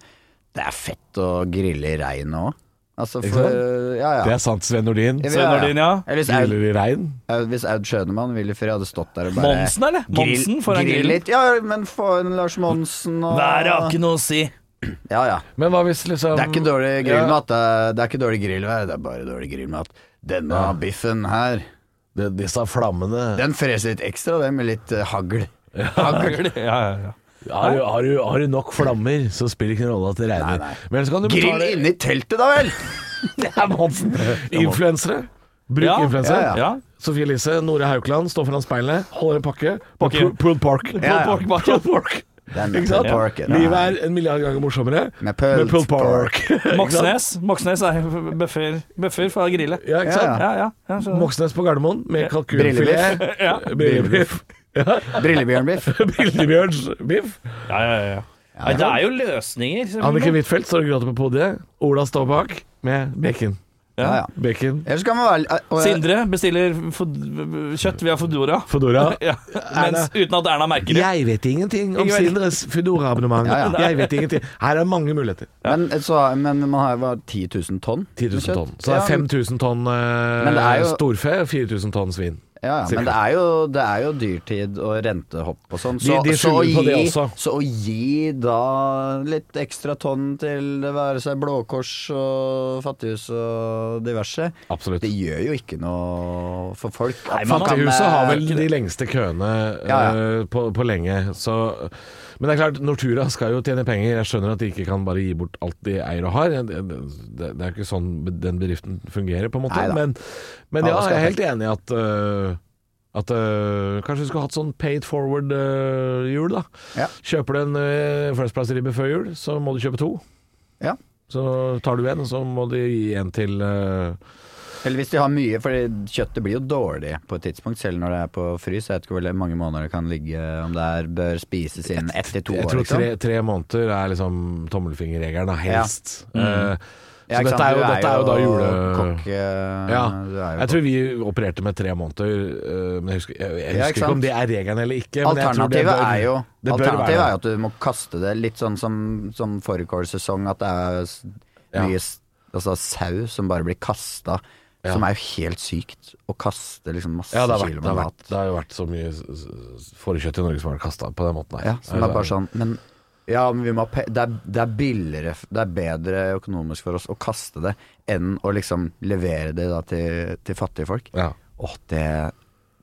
Speaker 7: det er fett å grille i regnet òg. Altså
Speaker 4: Ikke
Speaker 7: for
Speaker 4: sant?
Speaker 7: Ja, ja.
Speaker 4: Det er sant, Sven Nordin.
Speaker 7: Ja,
Speaker 6: Sven Nordin, ja.
Speaker 7: Eller Hvis Aud,
Speaker 4: Giller i regn.
Speaker 7: Aud- hvis Aud Schønemann Willyfrey hadde stått der og bare
Speaker 6: Monsen, eller? Monsen foran
Speaker 7: grill
Speaker 6: grillen.
Speaker 7: litt. Ja, men få en Lars Monsen og
Speaker 6: Været har ikke noe å si.
Speaker 7: Ja, ja.
Speaker 4: Men hva hvis liksom
Speaker 7: Det er ikke dårlig grillmat. Det er, det er ikke dårlig grillvær, det er bare dårlig grillmat. Denne biffen her,
Speaker 4: Ja, disse flammene
Speaker 7: den freser litt ekstra, det med litt eh, hagl. Hagl.
Speaker 6: Ja, ja, ja.
Speaker 4: har du, har, du, har du nok flammer, så spiller det ikke noen rolle at det regner.
Speaker 7: Nei, nei.
Speaker 4: Men så kan du
Speaker 7: Grill
Speaker 4: betale
Speaker 7: inni teltet, da vel!
Speaker 4: Det er Monsen. Influensere. Bruk
Speaker 6: Ja,
Speaker 4: influensere.
Speaker 7: ja,
Speaker 6: ja.
Speaker 4: Sofie Elise, Nore Haukeland står foran speilet, holder en pakke.
Speaker 6: Pakke.
Speaker 4: Pulled pulled pork.
Speaker 7: ja.
Speaker 4: Pulled pork, pulled pork.
Speaker 7: Det er
Speaker 4: Ikke sant?
Speaker 7: pulled pork, ja.
Speaker 4: Livet er en milliard ganger morsommere
Speaker 7: Med pulled pork.
Speaker 6: Moxnes. Moxnes er bøffer, bøffer fra grillet.
Speaker 4: Ja, ikke sant?
Speaker 6: Ja, ja. ja skjønner.
Speaker 4: Moxnes på Gardermoen med kalkunfilet.
Speaker 7: Brillebiff.
Speaker 6: ja.
Speaker 4: Brillebiff.
Speaker 7: Brillebjørnbiff.
Speaker 4: Brillebjørnsbiff.
Speaker 6: Ja, ja, ja, ja. Nei, det er jo løsninger,
Speaker 4: Anniken Huitfeldt står og gråter på podiet. Ola står bak med bacon.
Speaker 7: Ja, ja.
Speaker 4: Bacon,
Speaker 7: Ellers kan man være og,
Speaker 6: Sindre bestiller fod- kjøtt via Foodora.
Speaker 4: Fodora.
Speaker 6: Ja. Mens, uten at Erna merker det.
Speaker 4: Jeg vet ingenting om
Speaker 6: Jeg vet-
Speaker 4: Sindres Foodora-abonnement.
Speaker 7: Ja, ja.
Speaker 4: Jeg vet ingenting. Her er mange muligheter.
Speaker 7: Men, så, men man har jo bare 10 000 tonn.
Speaker 4: 10 000
Speaker 7: med kjøtt.
Speaker 4: tonn. Så det er
Speaker 7: Ja,
Speaker 4: 5000 tonn eh,
Speaker 7: Men det er jo-
Speaker 4: storfe og 4000 tonn svin.
Speaker 7: Ja, ja, men det er, jo, det er jo dyrtid og rentehopp og sånn.
Speaker 4: De- de
Speaker 7: så, å
Speaker 4: skylder på det
Speaker 7: gi-
Speaker 4: også.
Speaker 7: så å gi da litt ekstra tonn til det være seg Blå Kors og Fattighus og diverse,
Speaker 4: Absolutt.
Speaker 7: det gjør jo ikke noe for folk. At man kan,
Speaker 4: Fattighuset
Speaker 7: eh,
Speaker 4: har vel de lengste køene eh,
Speaker 7: Ja,
Speaker 4: På, på lenge. Så, men det er klart, Nortura skal jo tjene penger. Jeg skjønner at de ikke kan bare gi bort alt de eier og har. Det, det, det er jo ikke sånn den bedriften fungerer, på en måte.
Speaker 7: Neida.
Speaker 4: Men, men ja,
Speaker 7: Alle skal
Speaker 4: jeg er
Speaker 7: ha
Speaker 4: helt enig i at eh, At øh, Kanskje vi skulle hatt sånn paid forward-jul, da.
Speaker 7: Ja.
Speaker 4: Kjøper du en uh, førsteplassribbe før jul, så må du kjøpe to.
Speaker 7: Ja.
Speaker 4: Så tar du en, og så må de gi en til øh,
Speaker 7: Eller hvis de har mye, for kjøttet blir jo dårlig på et tidspunkt, selv når det er på frys. Jeg vet ikke hvor le- mange måneder det kan ligge, om det er, bør spises innen ett til to
Speaker 4: Jeg
Speaker 7: år.
Speaker 4: tror
Speaker 7: Liksom.
Speaker 4: tre, tre måneder er liksom tommelfingerregelen, da, helst. Eh,
Speaker 7: Mm. Ja,
Speaker 4: så
Speaker 7: ikke
Speaker 4: dette
Speaker 7: sant?
Speaker 4: er jo,
Speaker 7: Du
Speaker 4: dette er jo da jule...
Speaker 7: Kokk, eh,
Speaker 4: Ja.
Speaker 7: du er jo
Speaker 4: Jeg tror vi opererte med tre måneder, eh, men jeg husker, jeg, jeg
Speaker 7: Ja,
Speaker 4: husker
Speaker 7: ikke
Speaker 4: ikke
Speaker 7: sant?
Speaker 4: om det er regelen eller ikke. men jeg tror det
Speaker 7: Alternativet
Speaker 4: bør-
Speaker 7: er jo
Speaker 4: det bør
Speaker 7: Alternativet
Speaker 4: være
Speaker 7: er jo at du må kaste det, litt sånn som, som fårikålsesong, at det er s-
Speaker 4: Ja.
Speaker 7: mye s- altså, sau som bare blir kasta. Som er jo helt sykt, å kaste liksom masse
Speaker 4: Ja, det har, vært,
Speaker 7: kilo
Speaker 4: det,
Speaker 7: med
Speaker 4: har
Speaker 7: mat.
Speaker 4: vært, det har jo vært så mye s- s- fårikjøtt i Norge som har vært kasta på den måten her.
Speaker 7: Ja, som er bare sånn Men ja, men vi må ha pe det, er, det er billigere Det er bedre økonomisk for oss å kaste det enn å liksom levere det da til, til fattige folk.
Speaker 4: Ja.
Speaker 7: Åh, det,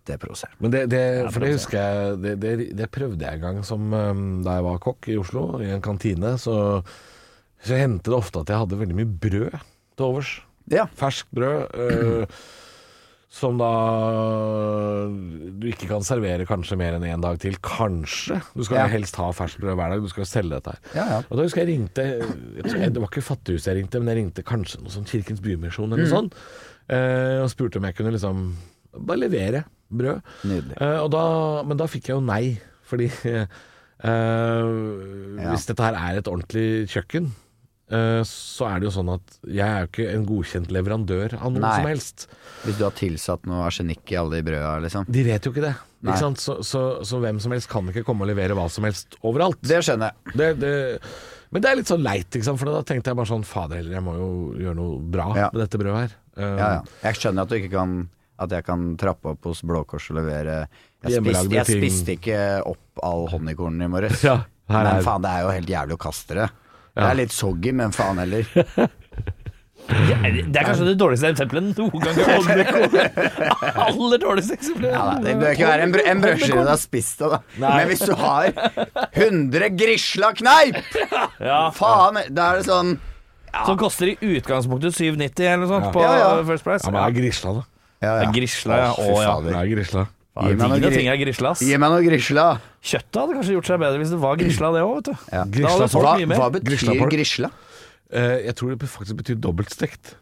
Speaker 7: det provoserer.
Speaker 4: Men det, det, for det husker jeg det, det, det prøvde jeg en gang som, eh, da jeg var kokk i Oslo, i en kantine. Så, så hendte det ofte at jeg hadde veldig mye brød til overs.
Speaker 7: Ja.
Speaker 4: Ferskt brød. eh, som da du ikke kan servere kanskje mer enn én dag til. Kanskje. Du skal
Speaker 7: Ja.
Speaker 4: helst ha ferskt brød hver dag, du skal selge dette her.
Speaker 7: Ja, ja.
Speaker 4: Og da husker jeg ringte jeg tror jeg, Det var ikke Fattighuset jeg ringte, men jeg ringte kanskje noe sånn Kirkens Bymisjon
Speaker 7: Mm.
Speaker 4: eller noe sånt. eh, og spurte om jeg kunne liksom bare levere brød.
Speaker 7: Nydelig.
Speaker 4: Eh, og da, men da fikk jeg jo nei, fordi eh, Hvis dette her er et ordentlig kjøkken, eh, så er det jo sånn at jeg er jo ikke en godkjent leverandør av noe
Speaker 7: Nei.
Speaker 4: som helst.
Speaker 7: Hvis du har tilsatt noe arsenikk i alle de brøda, liksom.
Speaker 4: De vet jo ikke det.
Speaker 7: Nei.
Speaker 4: Ikke sant? Så, så, så hvem som helst kan ikke komme og levere hva som helst overalt.
Speaker 7: Det skjønner jeg.
Speaker 4: Det, det, men det er litt sånn leit, ikke sant? for da tenkte jeg bare sånn Fader heller, jeg må jo gjøre noe bra
Speaker 7: Ja.
Speaker 4: med dette brødet her. Eh,
Speaker 7: Ja, ja. Jeg skjønner at du ikke kan At jeg kan trappe opp hos Blå Kors og levere Jeg,
Speaker 4: Hjemmelagde
Speaker 7: spiste- jeg
Speaker 4: ting.
Speaker 7: spiste ikke opp all honningkornen i morges.
Speaker 4: Ja, her
Speaker 7: men
Speaker 4: er-
Speaker 7: faen, det er jo helt jævlig å kaste det. Det er litt soggy, men faen heller.
Speaker 6: Det er kanskje det dårligste eksempelet noen gang. jeg har kommet. Aller dårligste eksempelet.
Speaker 7: Ja, da, det bør ikke være en, br en brødskive du har spist av, da. Men hvis du har 100 grisla kneip, faen, da er det sånn
Speaker 6: Som koster i utgangspunktet 7,90 eller noe sånt på
Speaker 7: Ja, ja.
Speaker 6: eh, First Price.
Speaker 4: ja, men det er grisla, da.
Speaker 7: ja, ja.
Speaker 6: Grisla, ja.
Speaker 7: Fy
Speaker 6: Å, ja.
Speaker 7: fader.
Speaker 4: Det er grisla.
Speaker 7: Gi meg noe
Speaker 6: Ingen ting
Speaker 7: gri-
Speaker 6: er grisla. ass.
Speaker 7: Gi meg noe grisla.
Speaker 6: Kjøttet hadde kanskje gjort seg bedre hvis det var grisla, det òg, vet du.
Speaker 7: Ja.
Speaker 6: Da hadde folk
Speaker 7: Hva,
Speaker 6: mye mer.
Speaker 7: hva
Speaker 4: Grisla
Speaker 7: betyr
Speaker 4: pork.
Speaker 7: grisla?
Speaker 4: Eh, jeg tror det faktisk betyr dobbeltstekt.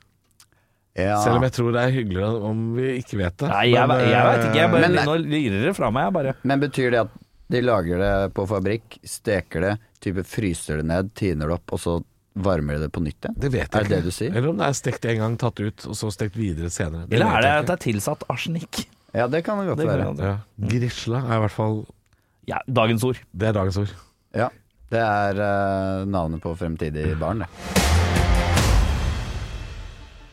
Speaker 7: Ja.
Speaker 4: Selv om jeg tror det er hyggeligere om vi ikke vet det.
Speaker 6: Nei, jeg,
Speaker 4: Men,
Speaker 6: jeg, jeg veit ikke. Jeg bare,
Speaker 7: Men-
Speaker 6: nå lirer det fra meg, jeg bare.
Speaker 7: Men betyr det at de lager det på fabrikk, steker det, type fryser det ned, tiner det opp, og så varmer de det på nytt igjen?
Speaker 4: Det vet jeg
Speaker 7: Er det
Speaker 4: ikke.
Speaker 7: det du sier?
Speaker 4: Eller om det er stekt en gang, tatt ut, og så stekt videre senere.
Speaker 6: Eller
Speaker 4: vet
Speaker 6: er det
Speaker 4: jeg
Speaker 6: at det er tilsatt arsenikk?
Speaker 7: Ja, det kan det godt
Speaker 6: Det kan
Speaker 7: være.
Speaker 6: jeg-
Speaker 4: ikke. ja. Grisla er i hvert fall
Speaker 6: Ja, dagens ord.
Speaker 4: Det er dagens ord.
Speaker 7: Ja. Det er eh, navnet på fremtidig barn, det.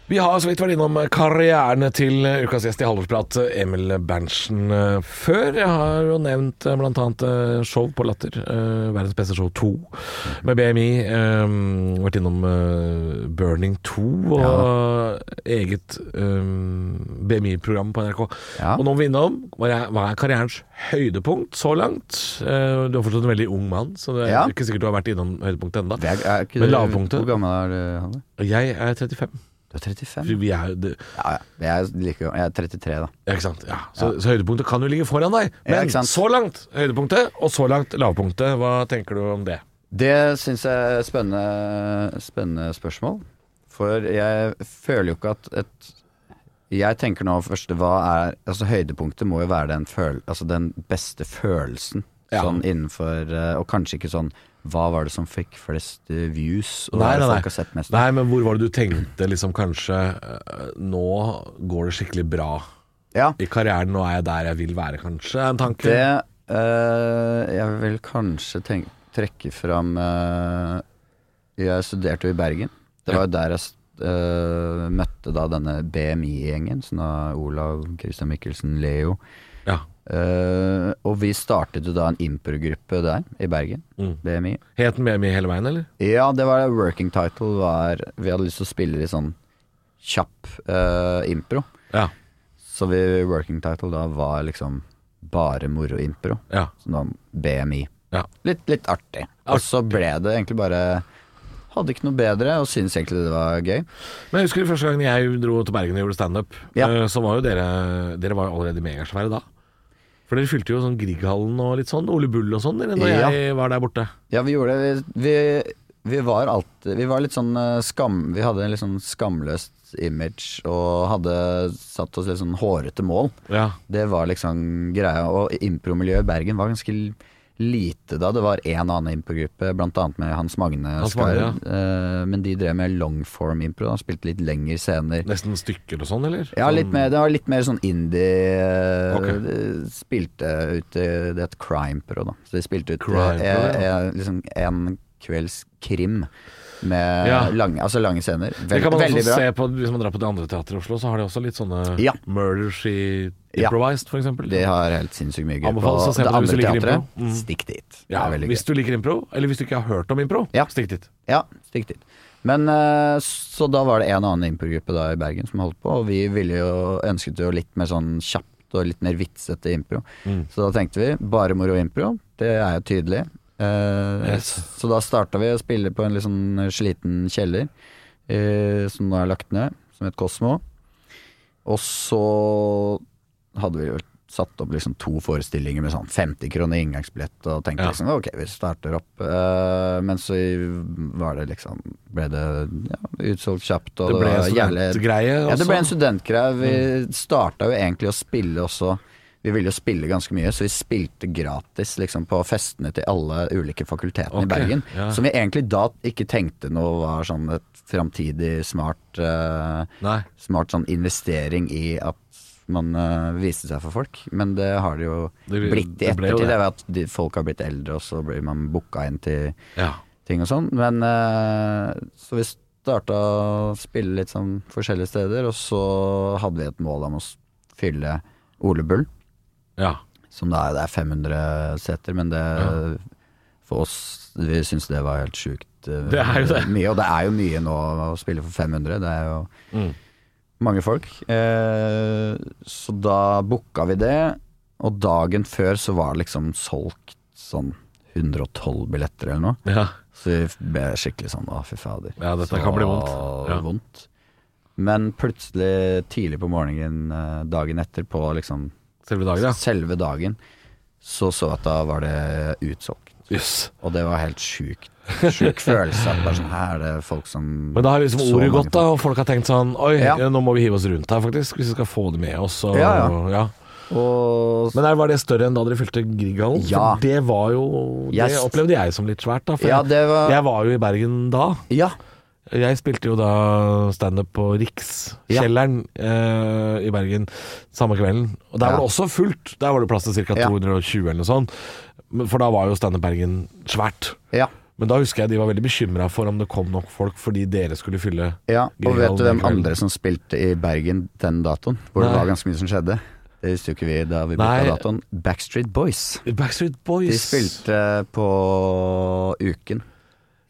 Speaker 4: Vi har så vidt vært innom eh, karrieren til eh, ukas gjest i Halvorsprat, eh, Emil Berntsen, eh, før. Jeg har jo nevnt eh, blant annet eh, show på Latter, eh, verdens beste show 2, med BMI. eh, Vært innom eh, Burning 2 og eget eh, BMI-program på NRK.
Speaker 7: Ja.
Speaker 4: Og nå må vi innom hva er, hva er karrierens høydepunkt så langt? Eh, Du er fortsatt en veldig ung mann, så det er
Speaker 7: Ja.
Speaker 4: ikke sikkert du har vært innom høydepunktet ennå.
Speaker 7: Det er, er ikke
Speaker 4: Men
Speaker 7: du-
Speaker 4: lavpunktet?
Speaker 7: Hvor gammel er du, Halle?
Speaker 4: Jeg er 35.
Speaker 7: Du er 35?
Speaker 4: Vi er, jo- det,
Speaker 7: Ja, ja. Jeg er, like, gammel. jeg er 33, da.
Speaker 4: Ja, ikke sant? Ja. Så, så høydepunktet kan jo ligge foran deg.
Speaker 7: Ja,
Speaker 4: Men
Speaker 7: ikke sant?
Speaker 4: så langt høydepunktet, og så langt lavpunktet. Hva tenker du om det?
Speaker 7: Det syns jeg er spennende, spennende spørsmål. For jeg føler jo ikke at et Jeg tenker nå først hva er Altså høydepunktet må jo være den, føl, altså, den beste følelsen.
Speaker 4: Ja.
Speaker 7: Sånn innenfor eh, Og kanskje ikke sånn hva var det som fikk flest eh, views? Og hva
Speaker 4: Nei,
Speaker 7: er det
Speaker 4: nei, nei.
Speaker 7: folk har sett mest?
Speaker 4: Nei, men hvor var det du tenkte liksom kanskje eh, Nå går det skikkelig bra
Speaker 7: Ja,
Speaker 4: i karrieren, nå er jeg der jeg vil være, kanskje? er En tanke?
Speaker 7: det eh, Jeg vil kanskje tenk, trekke fram eh, Jeg studerte jo i Bergen. Det var jo der jeg eh, møtte da denne BMI-gjengen, sånn av Olav, Christian Mikkelsen, Leo.
Speaker 4: Ja.
Speaker 7: Eh, og vi startet jo da en improgruppe der, i Bergen.
Speaker 4: Mm.
Speaker 7: BMI.
Speaker 4: Het den BMI hele veien, eller?
Speaker 7: Ja, det var det working title var Vi hadde lyst til å spille litt sånn kjapp eh, impro.
Speaker 4: Ja.
Speaker 7: Så vi, working title da var liksom bare moro-impro.
Speaker 4: Ja.
Speaker 7: Sånn om BMI.
Speaker 4: Ja.
Speaker 7: Litt, litt artig. Og så ble det egentlig bare Hadde ikke noe bedre, og syntes egentlig det var gøy.
Speaker 4: Men jeg husker første gang jeg dro til Bergen og gjorde standup,
Speaker 7: Ja.
Speaker 4: eh, så var jo dere Dere var jo allerede megasvære da. For dere fylte jo sånn Grieghallen og litt sånn, Ole Bull og sånn, eller når
Speaker 7: Ja.
Speaker 4: jeg var der borte.
Speaker 7: Ja, vi gjorde det. Vi, vi, vi var alltid Vi var litt sånn eh, skam... Vi hadde en litt sånn skamløst image og hadde satt oss litt sånn hårete mål.
Speaker 4: Ja.
Speaker 7: Det var liksom greia. Og impromiljøet i Bergen var ganske l- lite da. Det var én annen improgruppe, blant annet med Hans Magne
Speaker 4: Hans
Speaker 7: Skard.
Speaker 4: Magne,
Speaker 7: Eh, Men de drev med longform-impro. da, Spilte litt lengre scener.
Speaker 4: Nesten stykker og sånn, eller?
Speaker 7: Ja,
Speaker 4: Sånn-
Speaker 7: litt mer, det var litt mer sånn indie eh,
Speaker 4: Ok.
Speaker 7: det- Spilte ut i- Det het Crimepro da Så de spilte ut
Speaker 4: Crime Pro,
Speaker 7: eh,
Speaker 4: ja.
Speaker 7: eh, liksom en kvelds krim Med
Speaker 4: Ja.
Speaker 7: lange, altså lange scener
Speaker 4: Det
Speaker 7: Vel,
Speaker 4: kan man
Speaker 7: Veldig
Speaker 4: også
Speaker 7: bra
Speaker 4: se på hvis man drar på det andre teatret i Oslo, så har de også litt sånne
Speaker 7: Ja.
Speaker 4: murders i
Speaker 7: Ja.
Speaker 4: improvised, for eksempel.
Speaker 7: De har helt sinnssykt mye gøy på
Speaker 4: Anbefales å se
Speaker 7: det
Speaker 4: på det hvis
Speaker 7: andre
Speaker 4: du liker
Speaker 7: teatret
Speaker 4: impro. Mm.
Speaker 7: Stikk dit Det
Speaker 4: Ja,
Speaker 7: er veldig gøy
Speaker 4: hvis du liker impro, eller hvis du ikke har hørt om impro,
Speaker 7: Ja.
Speaker 4: stikk dit.
Speaker 7: Ja, stikk dit. Men eh, så da var det en annen improgruppe da i Bergen som holdt på, og vi ville jo, ønsket jo litt mer sånn kjapt og litt mer vitsete impro.
Speaker 4: Mm.
Speaker 7: Så da tenkte vi bare moro impro, det er jo tydelig. Eh,
Speaker 4: Yes.
Speaker 7: Så da starta vi å spille på en litt sånn sliten kjeller, eh, som nå er lagt ned, som het Kosmo. Og så hadde vi jo satt opp liksom to forestillinger med sånn 50 kroner inngangsbillett og tenkte
Speaker 4: Ja.
Speaker 7: liksom ok, vi starter opp. Eh, men så var det liksom ble det ja, utsolgt kjapt, og
Speaker 4: Det
Speaker 7: det,
Speaker 4: ble en
Speaker 7: var jævlig
Speaker 4: studentgreie også. Mm.
Speaker 7: ja, det ble en studentgreie. Vi starta jo egentlig å spille også Vi ville jo spille ganske mye, så vi spilte gratis liksom, på festene til alle ulike fakultetene
Speaker 4: Ok,
Speaker 7: i Bergen.
Speaker 4: ja.
Speaker 7: Som vi egentlig da ikke tenkte noe var sånn et framtidig smart eh,
Speaker 4: Nei.
Speaker 7: smart sånn investering i at man eh, viste seg for folk, men det har det jo
Speaker 4: Det-
Speaker 7: blitt i
Speaker 4: det ble jo
Speaker 7: ettertid.
Speaker 4: det.
Speaker 7: Det er ved at de, folk har blitt eldre, og så blir man booka inn til
Speaker 4: Ja.
Speaker 7: ting og sånn. Men eh, så vi starta å spille litt sånn forskjellige steder, og så hadde vi et mål om å s- fylle Ole Bull,
Speaker 4: ja.
Speaker 7: som da er, det er 500 seter, men det for oss Vi syns det var helt sjukt eh,
Speaker 4: Det er jo det.
Speaker 7: mye, og det er jo mye nå å spille for 500. Det er jo
Speaker 4: Mm.
Speaker 7: mange folk. Eh, så da booka vi det, og dagen før så var det liksom solgt sånn 112 billetter eller noe.
Speaker 4: ja.
Speaker 7: Så vi ble skikkelig sånn å, fy fader.
Speaker 4: Ja, dette
Speaker 7: så
Speaker 4: kan bli vondt. Ja.
Speaker 7: vondt. Men plutselig tidlig på morgenen eh, dagen etter, på liksom
Speaker 4: Selve dagen, ja.
Speaker 7: selve dagen, så så jeg at da var det utsolgt.
Speaker 4: Jøss.
Speaker 7: Og det var helt sjukt. Sjuk følelse. At bare sånn, her er det folk som
Speaker 4: Men da har liksom
Speaker 7: Så
Speaker 4: ordet
Speaker 7: mange
Speaker 4: gått, da, og folk har tenkt sånn Oi,
Speaker 7: Ja.
Speaker 4: nå må vi hive oss rundt her, faktisk, hvis vi skal få det med oss. Og,
Speaker 7: Ja,
Speaker 4: ja.
Speaker 7: Og
Speaker 4: Men er, var det større enn da dere fylte Grieghallen?
Speaker 7: Ja.
Speaker 4: For Det var jo Det
Speaker 7: Jeg-
Speaker 4: opplevde jeg som litt svært, da. For
Speaker 7: Ja, det var
Speaker 4: jeg, jeg var jo i Bergen da.
Speaker 7: Ja.
Speaker 4: Jeg spilte jo da standup på Riks,
Speaker 7: Ja.
Speaker 4: kjelleren eh, i Bergen, samme kvelden. Og der
Speaker 7: Ja.
Speaker 4: var det også fullt. Der var det plass til ca.
Speaker 7: Ja.
Speaker 4: 220 eller noe sånt. Men- For da var jo standup Bergen svært.
Speaker 7: ja.
Speaker 4: Men da husker jeg de var veldig bekymra for om det kom nok folk fordi dere skulle fylle
Speaker 7: Ja, og vet
Speaker 4: Grieghallen
Speaker 7: du hvem
Speaker 4: den kvelden.
Speaker 7: andre som spilte i Bergen den datoen? Hvor
Speaker 4: Nei.
Speaker 7: det var ganske mye som skjedde. Det visste jo ikke vi da vi
Speaker 4: Nei.
Speaker 7: bytta datoen. Backstreet Boys.
Speaker 4: Backstreet Boys.
Speaker 7: De spilte på Uken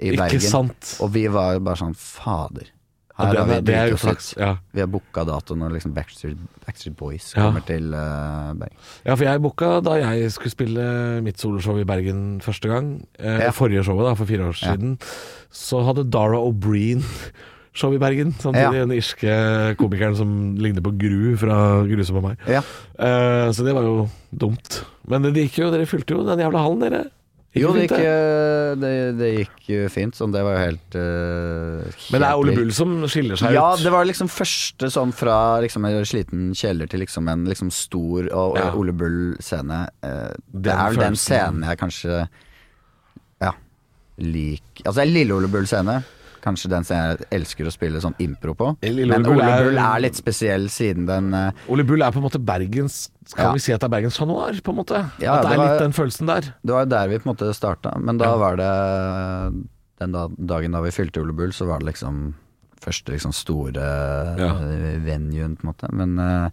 Speaker 7: i
Speaker 4: Ikke
Speaker 7: Bergen.
Speaker 4: sant.
Speaker 7: Og vi var jo bare sånn Fader.
Speaker 4: Ja,
Speaker 7: Her
Speaker 4: det,
Speaker 7: har vi
Speaker 4: det, det er
Speaker 7: driti oss
Speaker 4: uflaks.
Speaker 7: ut.
Speaker 4: Ja.
Speaker 7: Vi har booka datoen, og liksom Backstreet, Backstreet Boys
Speaker 4: Ja.
Speaker 7: kommer til eh, Bergen.
Speaker 4: ja, for jeg booka da jeg skulle spille mitt soloshow i Bergen første gang. Eh,
Speaker 7: Ja.
Speaker 4: Forrige showet, da, for fire år
Speaker 7: Ja.
Speaker 4: siden. Så hadde Dara O'Brien show i Bergen. Samtidig
Speaker 7: Ja.
Speaker 4: den irske komikeren som ligner på Gru fra Grusomme meg.
Speaker 7: Ja.
Speaker 4: Eh, så det var jo dumt. Men det gikk jo, dere fylte jo den jævla hallen, dere.
Speaker 7: Jo, det
Speaker 4: fint,
Speaker 7: gikk, eh, det, det gikk jo fint, sånn. Det var jo helt eh,
Speaker 4: Men det
Speaker 7: helt
Speaker 4: er Ole
Speaker 7: vilt.
Speaker 4: Bull som skiller seg
Speaker 7: Ja,
Speaker 4: ut.
Speaker 7: det var liksom første sånn fra liksom en sliten kjeller til liksom en liksom stor og
Speaker 4: Ja.
Speaker 7: Ole Bull-scene. Eh, Det
Speaker 4: Den
Speaker 7: er vel den
Speaker 4: følelsen.
Speaker 7: scenen jeg kanskje ja, lik Altså en Lille Ole Bull-scene. Kanskje den scenen jeg elsker å spille sånn impro på.
Speaker 4: Lille
Speaker 7: Men
Speaker 4: Ole Bull
Speaker 7: Ole
Speaker 4: er-
Speaker 7: Bull er litt spesiell siden den eh,
Speaker 4: Ole Bull er på en måte Bergens Kan
Speaker 7: Ja.
Speaker 4: vi si at det er Bergens Chat Noir, på en måte?
Speaker 7: Ja,
Speaker 4: at det,
Speaker 7: det
Speaker 4: er
Speaker 7: var-
Speaker 4: litt den følelsen der.
Speaker 7: Det var jo der vi på en måte starta, men da
Speaker 4: Ja.
Speaker 7: var det Den da, dagen da vi fylte Ole Bull, så var det liksom første liksom store
Speaker 4: Ja.
Speaker 7: eh, venuen, på en måte. Men eh,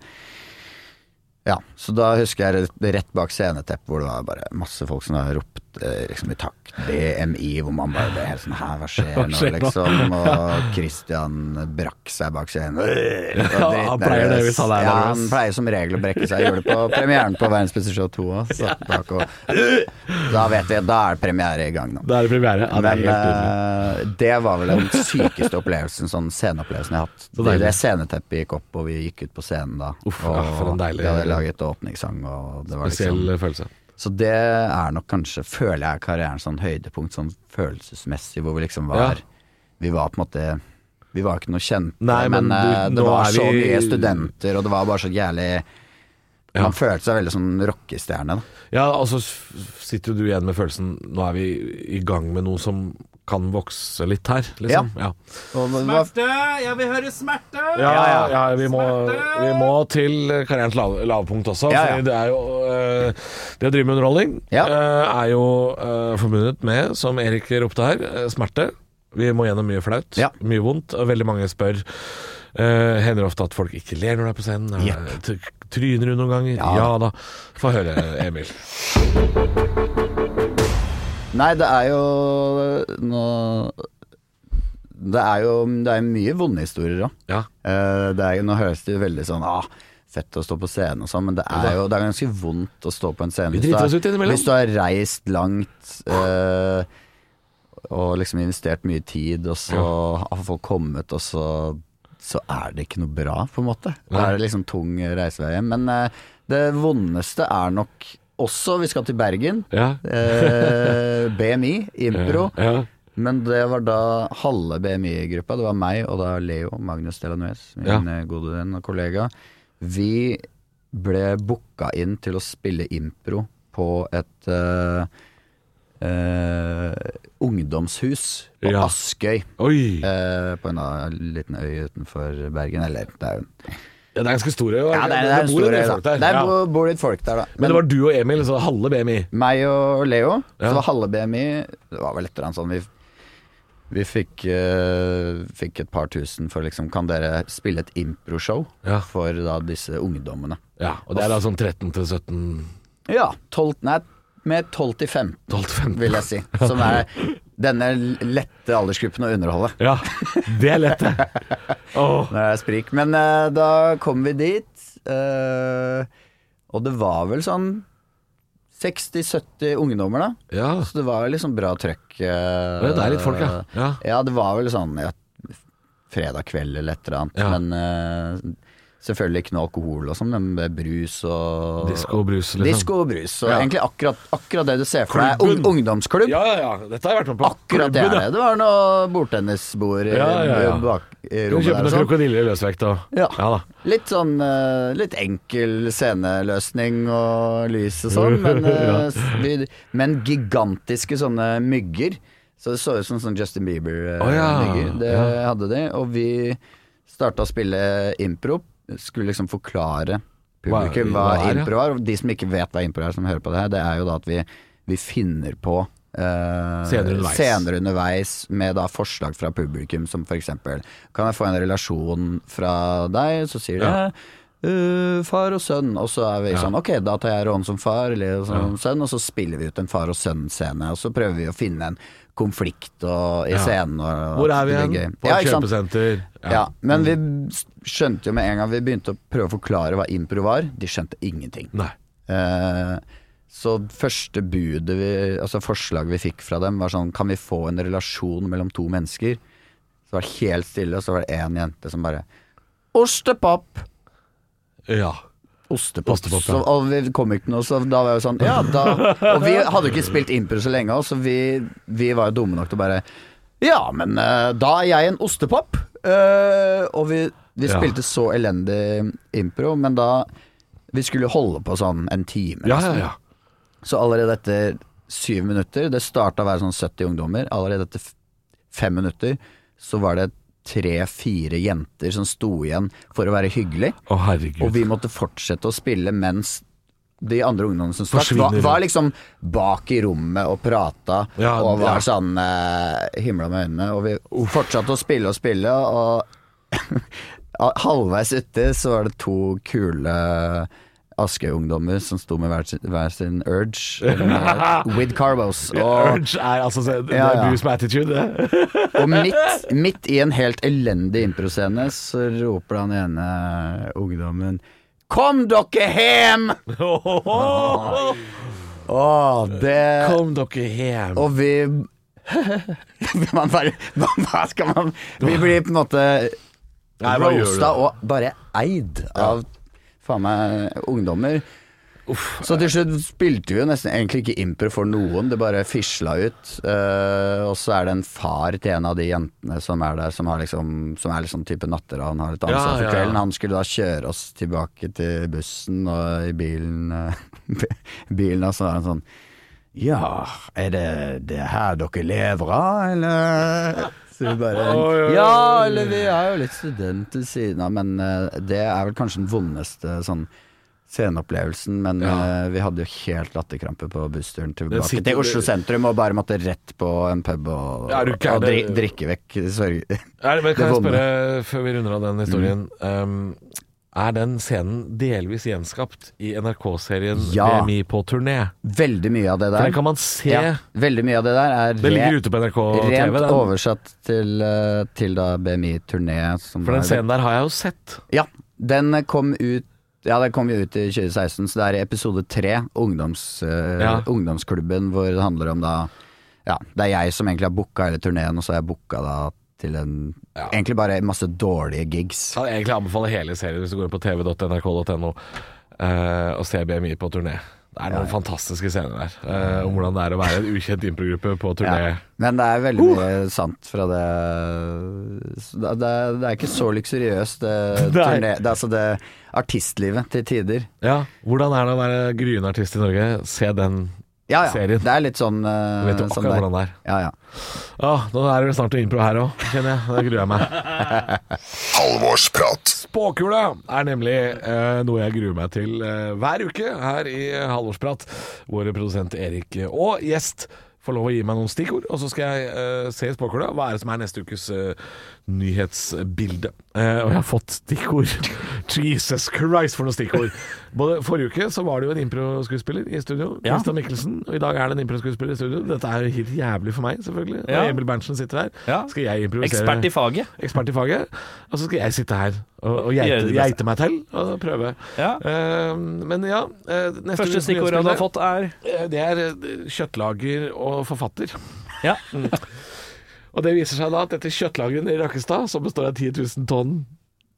Speaker 7: ja, så da husker jeg rett- rett bak sceneteppet hvor det var bare masse folk som hadde ropt eh, liksom i takt BMI, hvor man bare ble helt sånn Hæ, hva skjer
Speaker 4: Hva
Speaker 7: nå,
Speaker 4: skjer nå?»
Speaker 7: liksom? Og Christian brakk seg bak scenen. Øh,
Speaker 4: Ja,
Speaker 7: og
Speaker 4: han pleier det hvis han er
Speaker 7: dritnervøs. Ja, han
Speaker 4: nervøs.
Speaker 7: pleier som regel å brekke seg. Gjorde det på premieren på Verdens beste show 2 òg. Satt bak og Da vet vi, da er premiere i gang nå.
Speaker 4: Da er det premiere. Ja, det er
Speaker 7: Men
Speaker 4: helt nydelig.
Speaker 7: eh, det var vel den sykeste opplevelsen, sånn sceneopplevelsen jeg har hatt.
Speaker 4: Så
Speaker 7: Det,
Speaker 4: deilig.
Speaker 7: det sceneteppet gikk opp, og vi gikk ut på scenen da.
Speaker 4: Uff,
Speaker 7: og
Speaker 4: ja, for en deilig
Speaker 7: vi hadde laget åpningssang, og det var
Speaker 4: Spesiell
Speaker 7: liksom
Speaker 4: følelse.
Speaker 7: Så det er nok kanskje, føler jeg, karrieren sånn høydepunkt sånn følelsesmessig, hvor vi liksom var
Speaker 4: Ja.
Speaker 7: Vi var på en måte Vi var ikke noe kjente,
Speaker 4: Nei,
Speaker 7: men,
Speaker 4: men du-
Speaker 7: eh, det
Speaker 4: nå
Speaker 7: var
Speaker 4: er
Speaker 7: så
Speaker 4: vi-
Speaker 7: mye studenter, og det var bare så jævlig
Speaker 4: Ja.
Speaker 7: Man følte seg veldig sånn rockestjerne, da.
Speaker 4: Ja, altså s- sitter jo du igjen med følelsen Nå er vi i gang med noe som kan vokse litt her, liksom. Ja,
Speaker 7: Og det var,
Speaker 6: Jeg vil høre smerte!
Speaker 4: ja, ja, vi, må, vi må til karrierens lav, lavpunkt også.
Speaker 7: Ja, ja.
Speaker 4: Fordi det er jo eh, Det å drive med underholdning
Speaker 7: Ja.
Speaker 4: eh, er jo eh, forbundet med, som Erik ropte her, eh, smerte. Vi må gjennom mye flaut,
Speaker 7: Ja.
Speaker 4: mye vondt, og veldig mange spør eh, hender ofte at folk ikke ler når du er på scenen. Er det- t- Tryner du noen ganger? Ja, da. Få høre, Emil.
Speaker 7: nei, det er jo Nå Det er jo det er mye vonde historier òg.
Speaker 4: Ja.
Speaker 7: Eh, det er, jo- nå høres det jo veldig sånn ah, fett å stå på scenen og sånn, men det er jo det er ganske vondt å stå på en scene.
Speaker 4: Vi
Speaker 7: hvis du
Speaker 4: driter
Speaker 7: er-
Speaker 4: oss ut innimellom.
Speaker 7: Hvis du har reist langt eh, og liksom investert mye tid, og så har folk kommet, og så, så er det ikke noe bra, på en måte. Da er det liksom tung reisevei hjem. Men eh, det vondeste er nok også Vi skal til Bergen.
Speaker 4: Ja.
Speaker 7: Eh, BMI, impro.
Speaker 4: Ja.
Speaker 7: Men det var da halve BMI-gruppa. Det var meg og da Leo Magnus Delanuez, min
Speaker 4: Ja.
Speaker 7: eh, gode venn og kollega. Vi ble booka inn til å spille impro på et eh, eh, ungdomshus på
Speaker 4: Ja.
Speaker 7: Askøy.
Speaker 4: Oi.
Speaker 7: eh, på en annen liten øy utenfor Bergen. Eller det er jo
Speaker 4: Ja, det er ganske store. jo.
Speaker 7: ja, det er, det er en
Speaker 4: bor en
Speaker 7: stor
Speaker 4: del
Speaker 7: øy, da.
Speaker 4: folk der.
Speaker 7: Det er,
Speaker 4: Ja.
Speaker 7: bo- bor litt folk der, da.
Speaker 4: Men det var du og Emil, så halve BMI.
Speaker 7: meg og Leo.
Speaker 4: Ja.
Speaker 7: Så var halve BMI Det var vel et eller annet sånn Vi, vi fikk, eh, fikk et par tusen for liksom Kan dere spille et improshow
Speaker 4: Ja.
Speaker 7: for da disse ungdommene?
Speaker 4: Ja, og det er da sånn 13 til 17
Speaker 7: Ja. 12, nei, med 12 til 15,
Speaker 4: 12 til 15.
Speaker 7: vil jeg si. Som er denne lette aldersgruppen å underholde.
Speaker 4: Ja, det er lett, det. Åh.
Speaker 7: Når det er sprik. Men eh, da kom vi dit, eh, og det var vel sånn 60-70 ungdommer, da.
Speaker 4: Ja.
Speaker 7: Så det var liksom bra trøkk. eh,
Speaker 4: Ja, det er litt folk, ja. Ja.
Speaker 7: det var vel sånn ja, fredag kveld eller et eller annet.
Speaker 4: Ja.
Speaker 7: Men eh, selvfølgelig ikke noe alkohol og sånn, men det er brus og
Speaker 4: Disko og brus, liksom.
Speaker 7: Disko og brus. Og
Speaker 4: Ja.
Speaker 7: egentlig akkurat, akkurat det du ser for deg.
Speaker 4: Klubben.
Speaker 7: Ung, ungdomsklubb.
Speaker 4: Ja, ja, ja. Dette har jeg vært med på.
Speaker 7: Akkurat det er det. Det var noe bordtennisbord i-
Speaker 4: Ja, ja, ja.
Speaker 7: i
Speaker 4: Du
Speaker 7: bakrommet
Speaker 4: kjøper
Speaker 7: der. og
Speaker 4: noen
Speaker 7: sånn.
Speaker 4: krokodiller i løsvekt og
Speaker 7: Ja.
Speaker 4: ja da.
Speaker 7: Litt sånn eh, litt enkel sceneløsning og lys og sånn, men, eh, vi- men gigantiske sånne mygger. Så det så ut som sånn Justin Bieber-mygger.
Speaker 4: Å ja,
Speaker 7: Det
Speaker 4: ja.
Speaker 7: hadde de. Og vi starta å spille impro. Skulle liksom forklare publikum hva,
Speaker 4: Hva- hva er det?
Speaker 7: impro er. Og de som ikke vet hva impro er, som hører på det her, det er jo da at vi, vi finner på eh,
Speaker 4: Senere underveis.
Speaker 7: senere underveis med da forslag fra publikum, som for eksempel Kan jeg få en relasjon fra deg? Så sier de
Speaker 4: Ja.
Speaker 7: «Eh, far og sønn, og så er vi
Speaker 4: Ja.
Speaker 7: sånn Ok, da tar jeg rollen som far eller som sønn, og så spiller vi ut en far og sønn-scene. Og så prøver vi å finne en konflikt og, i
Speaker 4: Ja.
Speaker 7: scenen. Og,
Speaker 4: Hvor er vi
Speaker 7: at det
Speaker 4: hen?
Speaker 7: blir gøy.
Speaker 4: På
Speaker 7: Ja,
Speaker 4: et
Speaker 7: ikke sant?
Speaker 4: kjøpesenter?
Speaker 7: Ja.
Speaker 4: Mm.
Speaker 7: Men vi skjønte jo med en gang vi begynte å prøve å forklare hva impro var, de skjønte ingenting.
Speaker 4: Nei.
Speaker 7: Eh, så første budet vi, altså forslaget vi fikk fra dem, var sånn Kan vi få en relasjon mellom to mennesker? Så var det helt stille, og så var det én jente som bare Ostepop!
Speaker 4: Ja.
Speaker 7: Ostepop.
Speaker 4: Ostepop, ja.
Speaker 7: så, og vi kom ikke noe, så da var jeg jo sånn Ja, da Og vi hadde jo ikke spilt impro så lenge, også, så vi, vi var jo dumme nok til å bare Ja, men eh, da er jeg en ostepop. Eh, og vi, vi
Speaker 4: Ja.
Speaker 7: spilte så elendig impro, men da Vi skulle holde på sånn en time.
Speaker 4: Ja, ja,
Speaker 7: nesten.
Speaker 4: ja.
Speaker 7: Så allerede etter syv minutter Det starta å være sånn 70 ungdommer. Allerede etter f- fem minutter så var det tre-fire jenter som sto igjen for å være hyggelig.
Speaker 4: Å, herregud.
Speaker 7: Og vi måtte fortsette å spille mens de andre ungdommene som stakk,
Speaker 4: Forsvinner.
Speaker 7: var, var liksom bak i rommet og prata
Speaker 4: Ja,
Speaker 7: og var
Speaker 4: ja.
Speaker 7: sånn eh, himla med øynene. Og vi fortsatte å spille og spille, og halvveis uti så var det to kule Askøy-ungdommer som sto med hver sin, hver sin urge. eller med- With carbos. Og
Speaker 4: Urge er altså det, det
Speaker 7: Ja,
Speaker 4: er
Speaker 7: ja.
Speaker 4: brus med attitude, det.
Speaker 7: og midt, midt i en helt elendig improscene så roper han ene ungdommen Kom dere hjem! Åh, det
Speaker 4: Kom dere hjem.
Speaker 7: Og vi man bare, man, Hva skal man Vi blir på en måte
Speaker 4: Nei, hva gjør du
Speaker 7: roasta
Speaker 4: da?
Speaker 7: og bare eid av faen meg ungdommer. så til slutt spilte vi jo nesten egentlig ikke impro for noen, det bare fisla ut. Eh, og så er det en far til en av de jentene som er der, som, har liksom, som er liksom type natteravn, har litt ansvar
Speaker 4: Ja, ja,
Speaker 7: for kvelden.
Speaker 4: ja.
Speaker 7: Han skulle da kjøre oss tilbake til bussen og i bilen, eh, bilen og så var han sånn ja, er det det her dere lever av, eller? Så vi bare Ja, eller vi er jo litt student til siden av, men eh, det er vel kanskje den vondeste sånn sceneopplevelsen. Men eh, vi hadde jo helt latterkrampe på bussturen tilbake
Speaker 4: sitter-
Speaker 7: til Oslo sentrum og bare måtte rett på en pub og,
Speaker 4: Er du gæren?
Speaker 7: og dri drikke vekk sorg.
Speaker 4: Er, men kan
Speaker 7: Det Mm.
Speaker 4: jeg
Speaker 7: vonde.
Speaker 4: spørre, før vi runder av den historien ehm, Er den scenen delvis gjenskapt i NRK-serien
Speaker 7: Ja.
Speaker 4: BMI på turné?
Speaker 7: Veldig mye av det
Speaker 4: For
Speaker 7: der.
Speaker 4: den kan man se.
Speaker 7: ja, veldig mye av det der er
Speaker 4: Det ligger
Speaker 7: re-
Speaker 4: ute på NRK TV.
Speaker 7: rent
Speaker 4: Den.
Speaker 7: oversatt til, eh, til da BMI-turné.
Speaker 4: For den scenen der har jeg jo sett.
Speaker 7: Ja, den kom ut Ja, den kom jo ut i 2016, så det er i episode tre, ungdoms, eh,
Speaker 4: Ja.
Speaker 7: ungdomsklubben, hvor det handler om da Ja, det er jeg som egentlig har booka hele turneen, og så har jeg booka da til en Egentlig bare masse dårlige gigs.
Speaker 4: Kan jeg egentlig anbefale hele serien hvis du går inn på tv.nrk.no eh, og ser BMI på turné. Det er noen fantastiske scener der eh, om hvordan det er å være en ukjent improgruppe på turné.
Speaker 7: Ja. Men det er
Speaker 4: Uh!
Speaker 7: veldig mye sant fra det så det, det, er- det er ikke så luksuriøst, det,
Speaker 4: Nei.
Speaker 7: turné, det er altså det artistlivet til tider.
Speaker 4: Ja, Hvordan er det å være gryende artist i Norge? Se den.
Speaker 7: Ja ja,
Speaker 4: Serien.
Speaker 7: det er litt sånn eh,
Speaker 4: Vet du
Speaker 7: sånn
Speaker 4: akkurat
Speaker 7: der.
Speaker 4: hvordan det er?
Speaker 7: Ja ja.
Speaker 4: Åh, nå er det vel snart impro her òg, kjenner jeg. Da gruer jeg meg.
Speaker 5: Halvorsprat.
Speaker 4: Spåkula er nemlig eh, noe jeg gruer meg til eh, hver uke her i Halvorsprat. Vår produsent Erik eh, og gjest får lov å gi meg noen stikkord, og så skal jeg eh, se i spåkula hva er det som er neste ukes eh, nyhetsbilde. Eh, og jeg har fått stikkord. Jesus Christ, for noen stikkord! Både Forrige uke så var det jo en improskuespiller i studio,
Speaker 6: Ja.
Speaker 4: Christian Mikkelsen. Og i dag er det en improskuespiller i studio. Dette er jo helt jævlig for meg, selvfølgelig.
Speaker 6: Ja.
Speaker 4: Og Emil Berntsen sitter her.
Speaker 6: Ja.
Speaker 4: Skal jeg improvisere?
Speaker 6: Ekspert i faget.
Speaker 4: ekspert i faget, og så skal jeg sitte her og, og
Speaker 6: Gjøre
Speaker 4: geite,
Speaker 6: det beste.
Speaker 4: geite meg til og prøve.
Speaker 6: Ja.
Speaker 4: Eh, men ja eh, neste
Speaker 6: Første
Speaker 4: ukes
Speaker 6: stikkordet du har
Speaker 4: nyhetsbilde,
Speaker 6: fått, er
Speaker 4: eh, Det er eh, kjøttlager og forfatter. Mm.
Speaker 6: Ja.
Speaker 4: Og det viser seg da at dette kjøttlageret i Rakkestad, som består av 10 000 tonn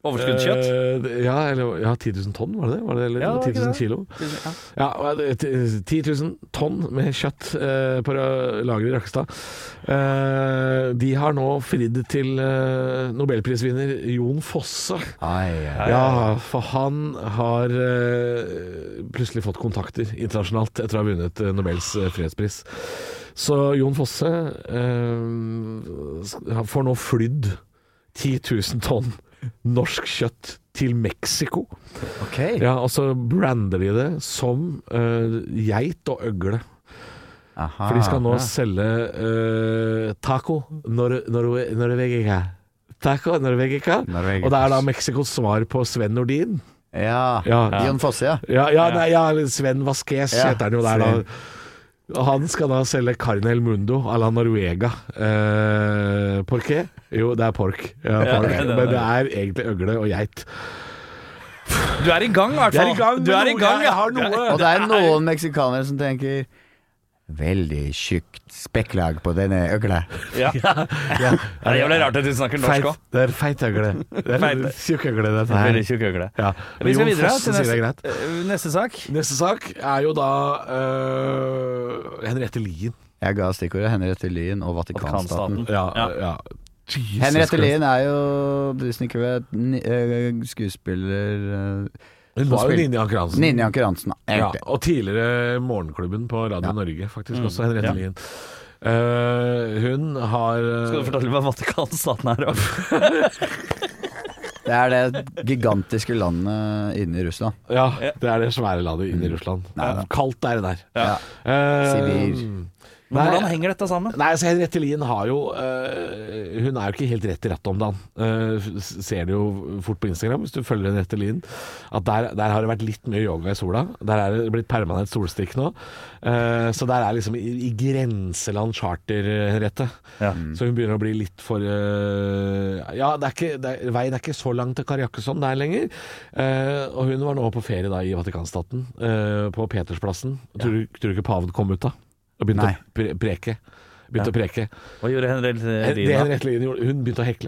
Speaker 6: Overskuddskjøtt.
Speaker 4: eh, ja, eller, ja, 10 000 tonn, var det det? Var det eller
Speaker 6: Ja, det
Speaker 4: 10 000
Speaker 6: var ikke det.
Speaker 4: kilo? Ja, og det- t- 10 000 eh, tonn med kjøtt eh, på ra- lageret i Rakkestad. Eh, de har nå fridd til eh, nobelprisvinner Jon Fosse.
Speaker 7: Ai, ai.
Speaker 4: Ja, for han har eh, plutselig fått kontakter internasjonalt etter å ha vunnet eh, Nobels eh, fredspris. Så Jon Fosse eh, sk- han får nå flydd 10 000 tonn norsk kjøtt til Mexico.
Speaker 7: Ok.
Speaker 4: Ja, og så brander de det som eh, geit og øgle.
Speaker 7: Aha.
Speaker 4: For de
Speaker 6: Ah,
Speaker 4: skal nå selge eh, taco nor norve norvegica. Taco norvegica.
Speaker 7: Norvegica.
Speaker 4: Og det er da Mexicos svar på Sven Nordin.
Speaker 7: Ja.
Speaker 4: Ja.
Speaker 7: Jon Fosse, ja.
Speaker 4: Ja, ja, nei, ja Sven Vasquez
Speaker 7: Ja,
Speaker 4: heter han jo der, da. Og Han skal da selge Carnel Mundo à la Noruega. Eh, porqué? Jo, det er pork. Ja,
Speaker 6: Ja,
Speaker 4: pork.
Speaker 6: det er det.
Speaker 4: Men det er egentlig øgle og geit.
Speaker 6: Du er i gang, i hvert
Speaker 4: Jeg er
Speaker 6: fall.
Speaker 4: i gang med
Speaker 6: Du er i
Speaker 4: noe.
Speaker 6: gang,
Speaker 4: Jeg
Speaker 6: ja.
Speaker 4: har noe.
Speaker 6: Du er-
Speaker 7: Og det er noen meksikanere som tenker Veldig tjukt spekklag på denne øgla.
Speaker 6: Ja. Ja, Det er jævlig rart at du snakker norsk òg.
Speaker 4: Feit, det er feit øgle. Det er
Speaker 6: Feit.
Speaker 4: tjukk øgle, dette her.
Speaker 6: Veldig tjukk øgle.
Speaker 4: Ja.
Speaker 6: Vi skal
Speaker 4: Jon
Speaker 6: videre
Speaker 4: Fosse
Speaker 6: til
Speaker 4: sier det er
Speaker 6: neste,
Speaker 4: greit.
Speaker 6: eh, neste sak.
Speaker 4: Neste sak er jo da øh, Henriette Lien.
Speaker 7: Jeg ga stikkordet Henriette Lien og Vatikanstaten.
Speaker 6: Vatikanstaten.
Speaker 4: Ja,
Speaker 6: Ja.
Speaker 4: ja. Jesus
Speaker 7: Henriette
Speaker 4: Christ.
Speaker 7: Lien er jo, du som ikke vet, ni- eh, skuespiller eh,
Speaker 4: Hun var jo
Speaker 7: spilt-
Speaker 4: Nini Anker Hansen.
Speaker 7: Ninja Anker Hansen.
Speaker 4: Ja,
Speaker 7: egentlig.
Speaker 4: og tidligere Morgenklubben på Radio
Speaker 7: Ja.
Speaker 4: Norge, faktisk også. Henriette
Speaker 6: Mm. ja.
Speaker 4: Lien. Eh, hun har eh,
Speaker 6: Skal du fortelle hva Vatikanstaten er? og-
Speaker 7: Det er det gigantiske landet inne i Russland.
Speaker 4: øh, Ja, det er det svære landet inne i Russland. Kaldt er det der.
Speaker 7: Ja.
Speaker 4: Eh,
Speaker 7: Mm. Sibir.
Speaker 6: Men
Speaker 4: Nei.
Speaker 6: Hvordan henger dette sammen?
Speaker 4: Nei, altså Henriette Lien har jo øh, Hun er jo ikke helt rett i rattet om dagen. Eh, s- ser det jo fort på Instagram, hvis du følger Henriette Lien, at der, der har det vært litt mye yoga i sola. Der er det blitt permanent solstikk nå. Eh, så der er liksom i, i grenseland charter, eh, Henriette.
Speaker 6: Ja.
Speaker 4: Så hun begynner å bli litt for eh, Ja, det er ikke, det er, veien er ikke så lang til Karjakkeson der lenger. Eh, og hun var nå på ferie da i Vatikanstaten, eh, på Petersplassen. Tror, du, tror du ikke paven kom ut da? Og begynte
Speaker 7: Nei.
Speaker 4: å pre preke? Begynte å preke.
Speaker 6: Hva gjorde Henriette
Speaker 4: Eh, Det
Speaker 6: Lien da?
Speaker 4: Henriette Lien gjorde, hun begynte å hekle.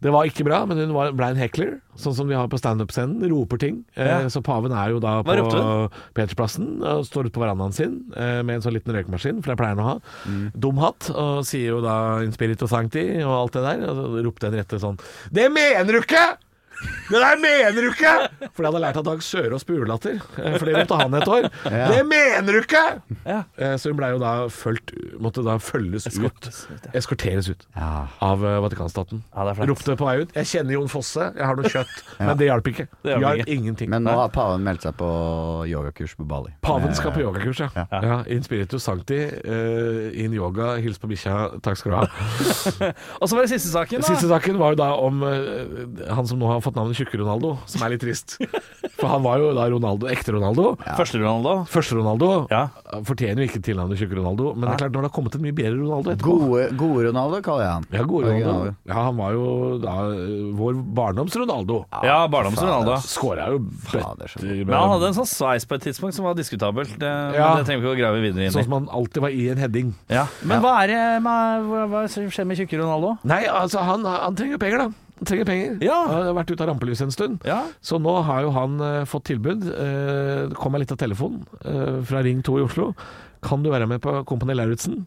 Speaker 4: Det var ikke bra, men hun var, ble en hekler, sånn som de har på standup-scenen. Roper ting. Eh,
Speaker 6: Ja.
Speaker 4: så paven er jo da på
Speaker 6: ropte hun?
Speaker 4: Peterplassen og står ute på verandaen sin eh, med en sånn liten røykmaskin, for det pleier han å ha.
Speaker 6: Mm.
Speaker 4: Dum hatt, og sier jo da 'in spirito sancti' og alt det der. Og så ropte Henriette sånn 'Det mener du ikke!' Det der mener du ikke! For de hadde lært av Dag Sørås på julelatter. eh, For det ropte han et år. Det mener du ikke!
Speaker 6: Ja.
Speaker 4: Eh, Så hun ble jo da følt, måtte da følges
Speaker 6: Eskortes ut,
Speaker 4: ut. Eskorteres ut
Speaker 7: Ja.
Speaker 4: av eh, Vatikanstaten.
Speaker 6: Ja, det er flaut.
Speaker 4: Ropte på vei ut 'Jeg kjenner Jon Fosse, jeg har noe kjøtt'. Men det hjalp ikke.
Speaker 6: Det
Speaker 4: Det
Speaker 6: hjalp
Speaker 4: hjalp
Speaker 6: ikke.
Speaker 4: ingenting.
Speaker 7: Men nå har paven meldt seg på yogakurs på Bali. Eh,
Speaker 4: Paven skal på yogakurs, ja. ja. in spiritu sancti, eh, in yoga, hils på bikkja, takk skal du ha.
Speaker 6: Og så var det siste saken, da.
Speaker 4: Siste saken var jo da om eh, han som nå har fått navnet Tjukke-Ronaldo, som er litt trist. For han var jo da Ronaldo, ekte Ronaldo.
Speaker 6: Første Ronaldo.
Speaker 4: Første Ronaldo
Speaker 6: Ja.
Speaker 4: fortjener jo ikke tilnavnet Tjukke-Ronaldo, men det er klart når det har kommet en mye bedre Ronaldo etterpå
Speaker 7: Gode, gode Ronaldo, kaller jeg han.
Speaker 4: Ja, gode Ronaldo.
Speaker 7: Originale.
Speaker 4: Ja, han var jo da eh, vår barndoms Ronaldo.
Speaker 6: Ja, barndoms Ronaldo.
Speaker 4: Skåra jo
Speaker 7: Fader, så god.
Speaker 4: bøtter
Speaker 6: Men han hadde en sånn sveis på et tidspunkt som var diskutabelt. Det,
Speaker 4: Ja.
Speaker 6: Men det trenger vi ikke å grave videre inn
Speaker 4: Sånn
Speaker 6: i.
Speaker 4: som han alltid var i en heading.
Speaker 6: Ja. Men hva er det med, hva, hva skjer med tjukke Ronaldo?
Speaker 4: Nei, altså han, han trenger penger, da. Han trenger penger.
Speaker 6: Ja.
Speaker 4: Han har vært ute av rampelyset en stund.
Speaker 6: Ja.
Speaker 4: Så nå har jo han eh, fått tilbud. Eh, det kom meg litt av telefonen eh, fra Ring 2 i Oslo. Kan du være med på Kompani Lauritzen?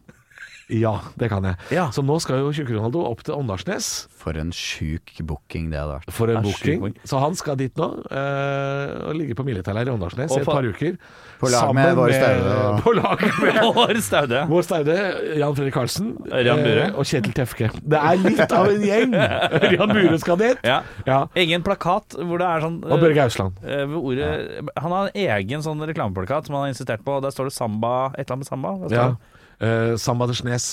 Speaker 4: Ja, det kan jeg.
Speaker 6: Ja.
Speaker 4: Så nå skal jo Tjukke-Ronaldo opp til Åndalsnes
Speaker 7: For en sjuk booking det hadde vært.
Speaker 4: for en
Speaker 6: Er sjuk
Speaker 4: booking. Så han skal dit nå, eh, og ligge på militærleir i Åndalsnes
Speaker 6: Og
Speaker 4: i et
Speaker 6: for-
Speaker 4: par uker.
Speaker 7: På lag
Speaker 4: Sammen
Speaker 7: med Våre Staude og-
Speaker 4: På lag med
Speaker 6: Hår staude.
Speaker 4: Bård Staude, Jan Fredrik Karlsen
Speaker 6: Ørjan Bure.
Speaker 4: eh, og Kjetil Tefke. Det er litt av en gjeng! Ørjan Bure skal dit.
Speaker 6: Ja.
Speaker 4: Ja.
Speaker 6: Egen plakat hvor det er sånn
Speaker 4: Og Børge Ausland.
Speaker 6: eh, hvor ordet, Han har en egen sånn reklameplakat som han har insistert på. og Der står det samba Et eller annet med samba. Hva står
Speaker 4: Ja.
Speaker 6: det?
Speaker 4: Eh, Samba de Snes.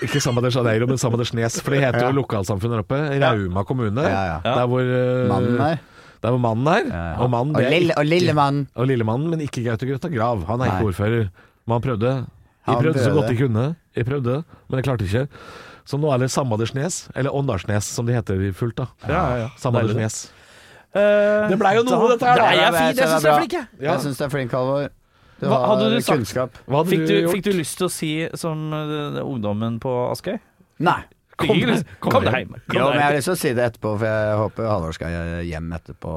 Speaker 4: Ikke Samba de Janeiro, men Samba de Snes. For det heter jo lokalsamfunnet der oppe. Rauma kommune.
Speaker 7: Ja, ja.
Speaker 4: Der hvor eh,
Speaker 7: Mannen her.
Speaker 4: Der hvor mannen er. Og mannen
Speaker 7: Og
Speaker 4: det er
Speaker 7: lille, og lille mann.
Speaker 4: ikke- og lillemannen, men ikke Gaute Grøtta Grav. Han er
Speaker 7: Nei.
Speaker 4: ikke ordfører. Men han prøvde. De
Speaker 7: Han
Speaker 4: prøvde så
Speaker 7: prøvde.
Speaker 4: godt de kunne. Jeg prøvde, men jeg klarte ikke. Så nå er det Samba de Snes, eller Åndalsnes som de heter i fullt, da.
Speaker 6: Ja, ja, ja.
Speaker 4: Samba de
Speaker 6: Deilig.
Speaker 4: Snes.
Speaker 6: Eh,
Speaker 4: Det ble jo noe, dette her, da.
Speaker 6: Nei, jeg, jeg, jeg syns jeg er flink, jeg.
Speaker 4: Ja.
Speaker 7: Jeg syns du er flink, Halvor. Du
Speaker 6: Hva
Speaker 7: har
Speaker 6: hadde du sagt?
Speaker 7: kunnskap.
Speaker 4: Hva hadde
Speaker 6: Fikk du,
Speaker 4: du gjort?
Speaker 6: fikk du lyst til å si som eh, ungdommen på Askøy?
Speaker 7: Nei.
Speaker 6: Kom, kom, kom deg hjem. Kom deg
Speaker 7: Jo, men jeg
Speaker 6: hjem.
Speaker 7: har lyst til å si det etterpå, for jeg håper Halvor skal hjem etterpå.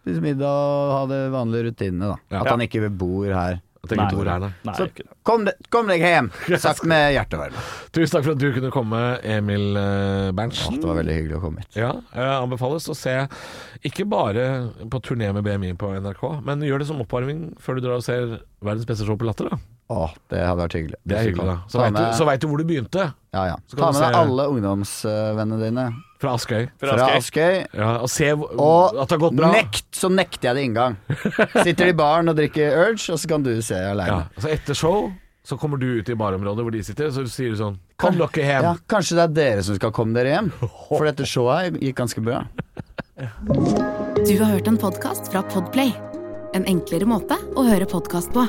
Speaker 7: Spise middag og ha de vanlige rutinene, da.
Speaker 4: Ja.
Speaker 7: At han ikke bor her.
Speaker 4: Jeg tenker, hvor er det?
Speaker 6: Nei,
Speaker 7: Så
Speaker 6: ikke det.
Speaker 7: kom, de, kom deg hjem! Sagt med hjertevarme.
Speaker 4: Tusen takk for at du kunne komme, Emil eh,
Speaker 7: Åh,
Speaker 4: Berntsen.
Speaker 7: det var veldig hyggelig å komme hit.
Speaker 4: Ja, eh, anbefales å se ikke bare på turné med BMI på NRK, men gjør det som oppvarming før du drar og ser verdens beste show på Latter. da
Speaker 7: Åh, det hadde vært hyggelig.
Speaker 4: Det er hyggelig, da. Så
Speaker 7: Ta
Speaker 4: veit du,
Speaker 7: med-
Speaker 4: så vet du hvor du begynte.
Speaker 7: Ja, ja.
Speaker 4: Så kan
Speaker 7: Ta
Speaker 4: du
Speaker 7: med deg
Speaker 4: se-
Speaker 7: alle ungdomsvennene dine
Speaker 4: Fra Askøy.
Speaker 7: fra Askøy.
Speaker 4: Ja, og se hvor-
Speaker 7: Og
Speaker 4: at det har gått bra.
Speaker 7: nekt, så nekter jeg det inngang. Sitter i baren og drikker Urge, og så kan du se
Speaker 4: Ja,
Speaker 7: aleine.
Speaker 4: så etter show så kommer du ut i barområdet hvor de sitter, så sier du sånn Kom dere hjem.
Speaker 7: Ja, kanskje det er dere som skal komme dere hjem? For dette showet her gikk ganske bra.
Speaker 3: Du har hørt en podkast fra Podplay. En enklere måte å høre podkast på.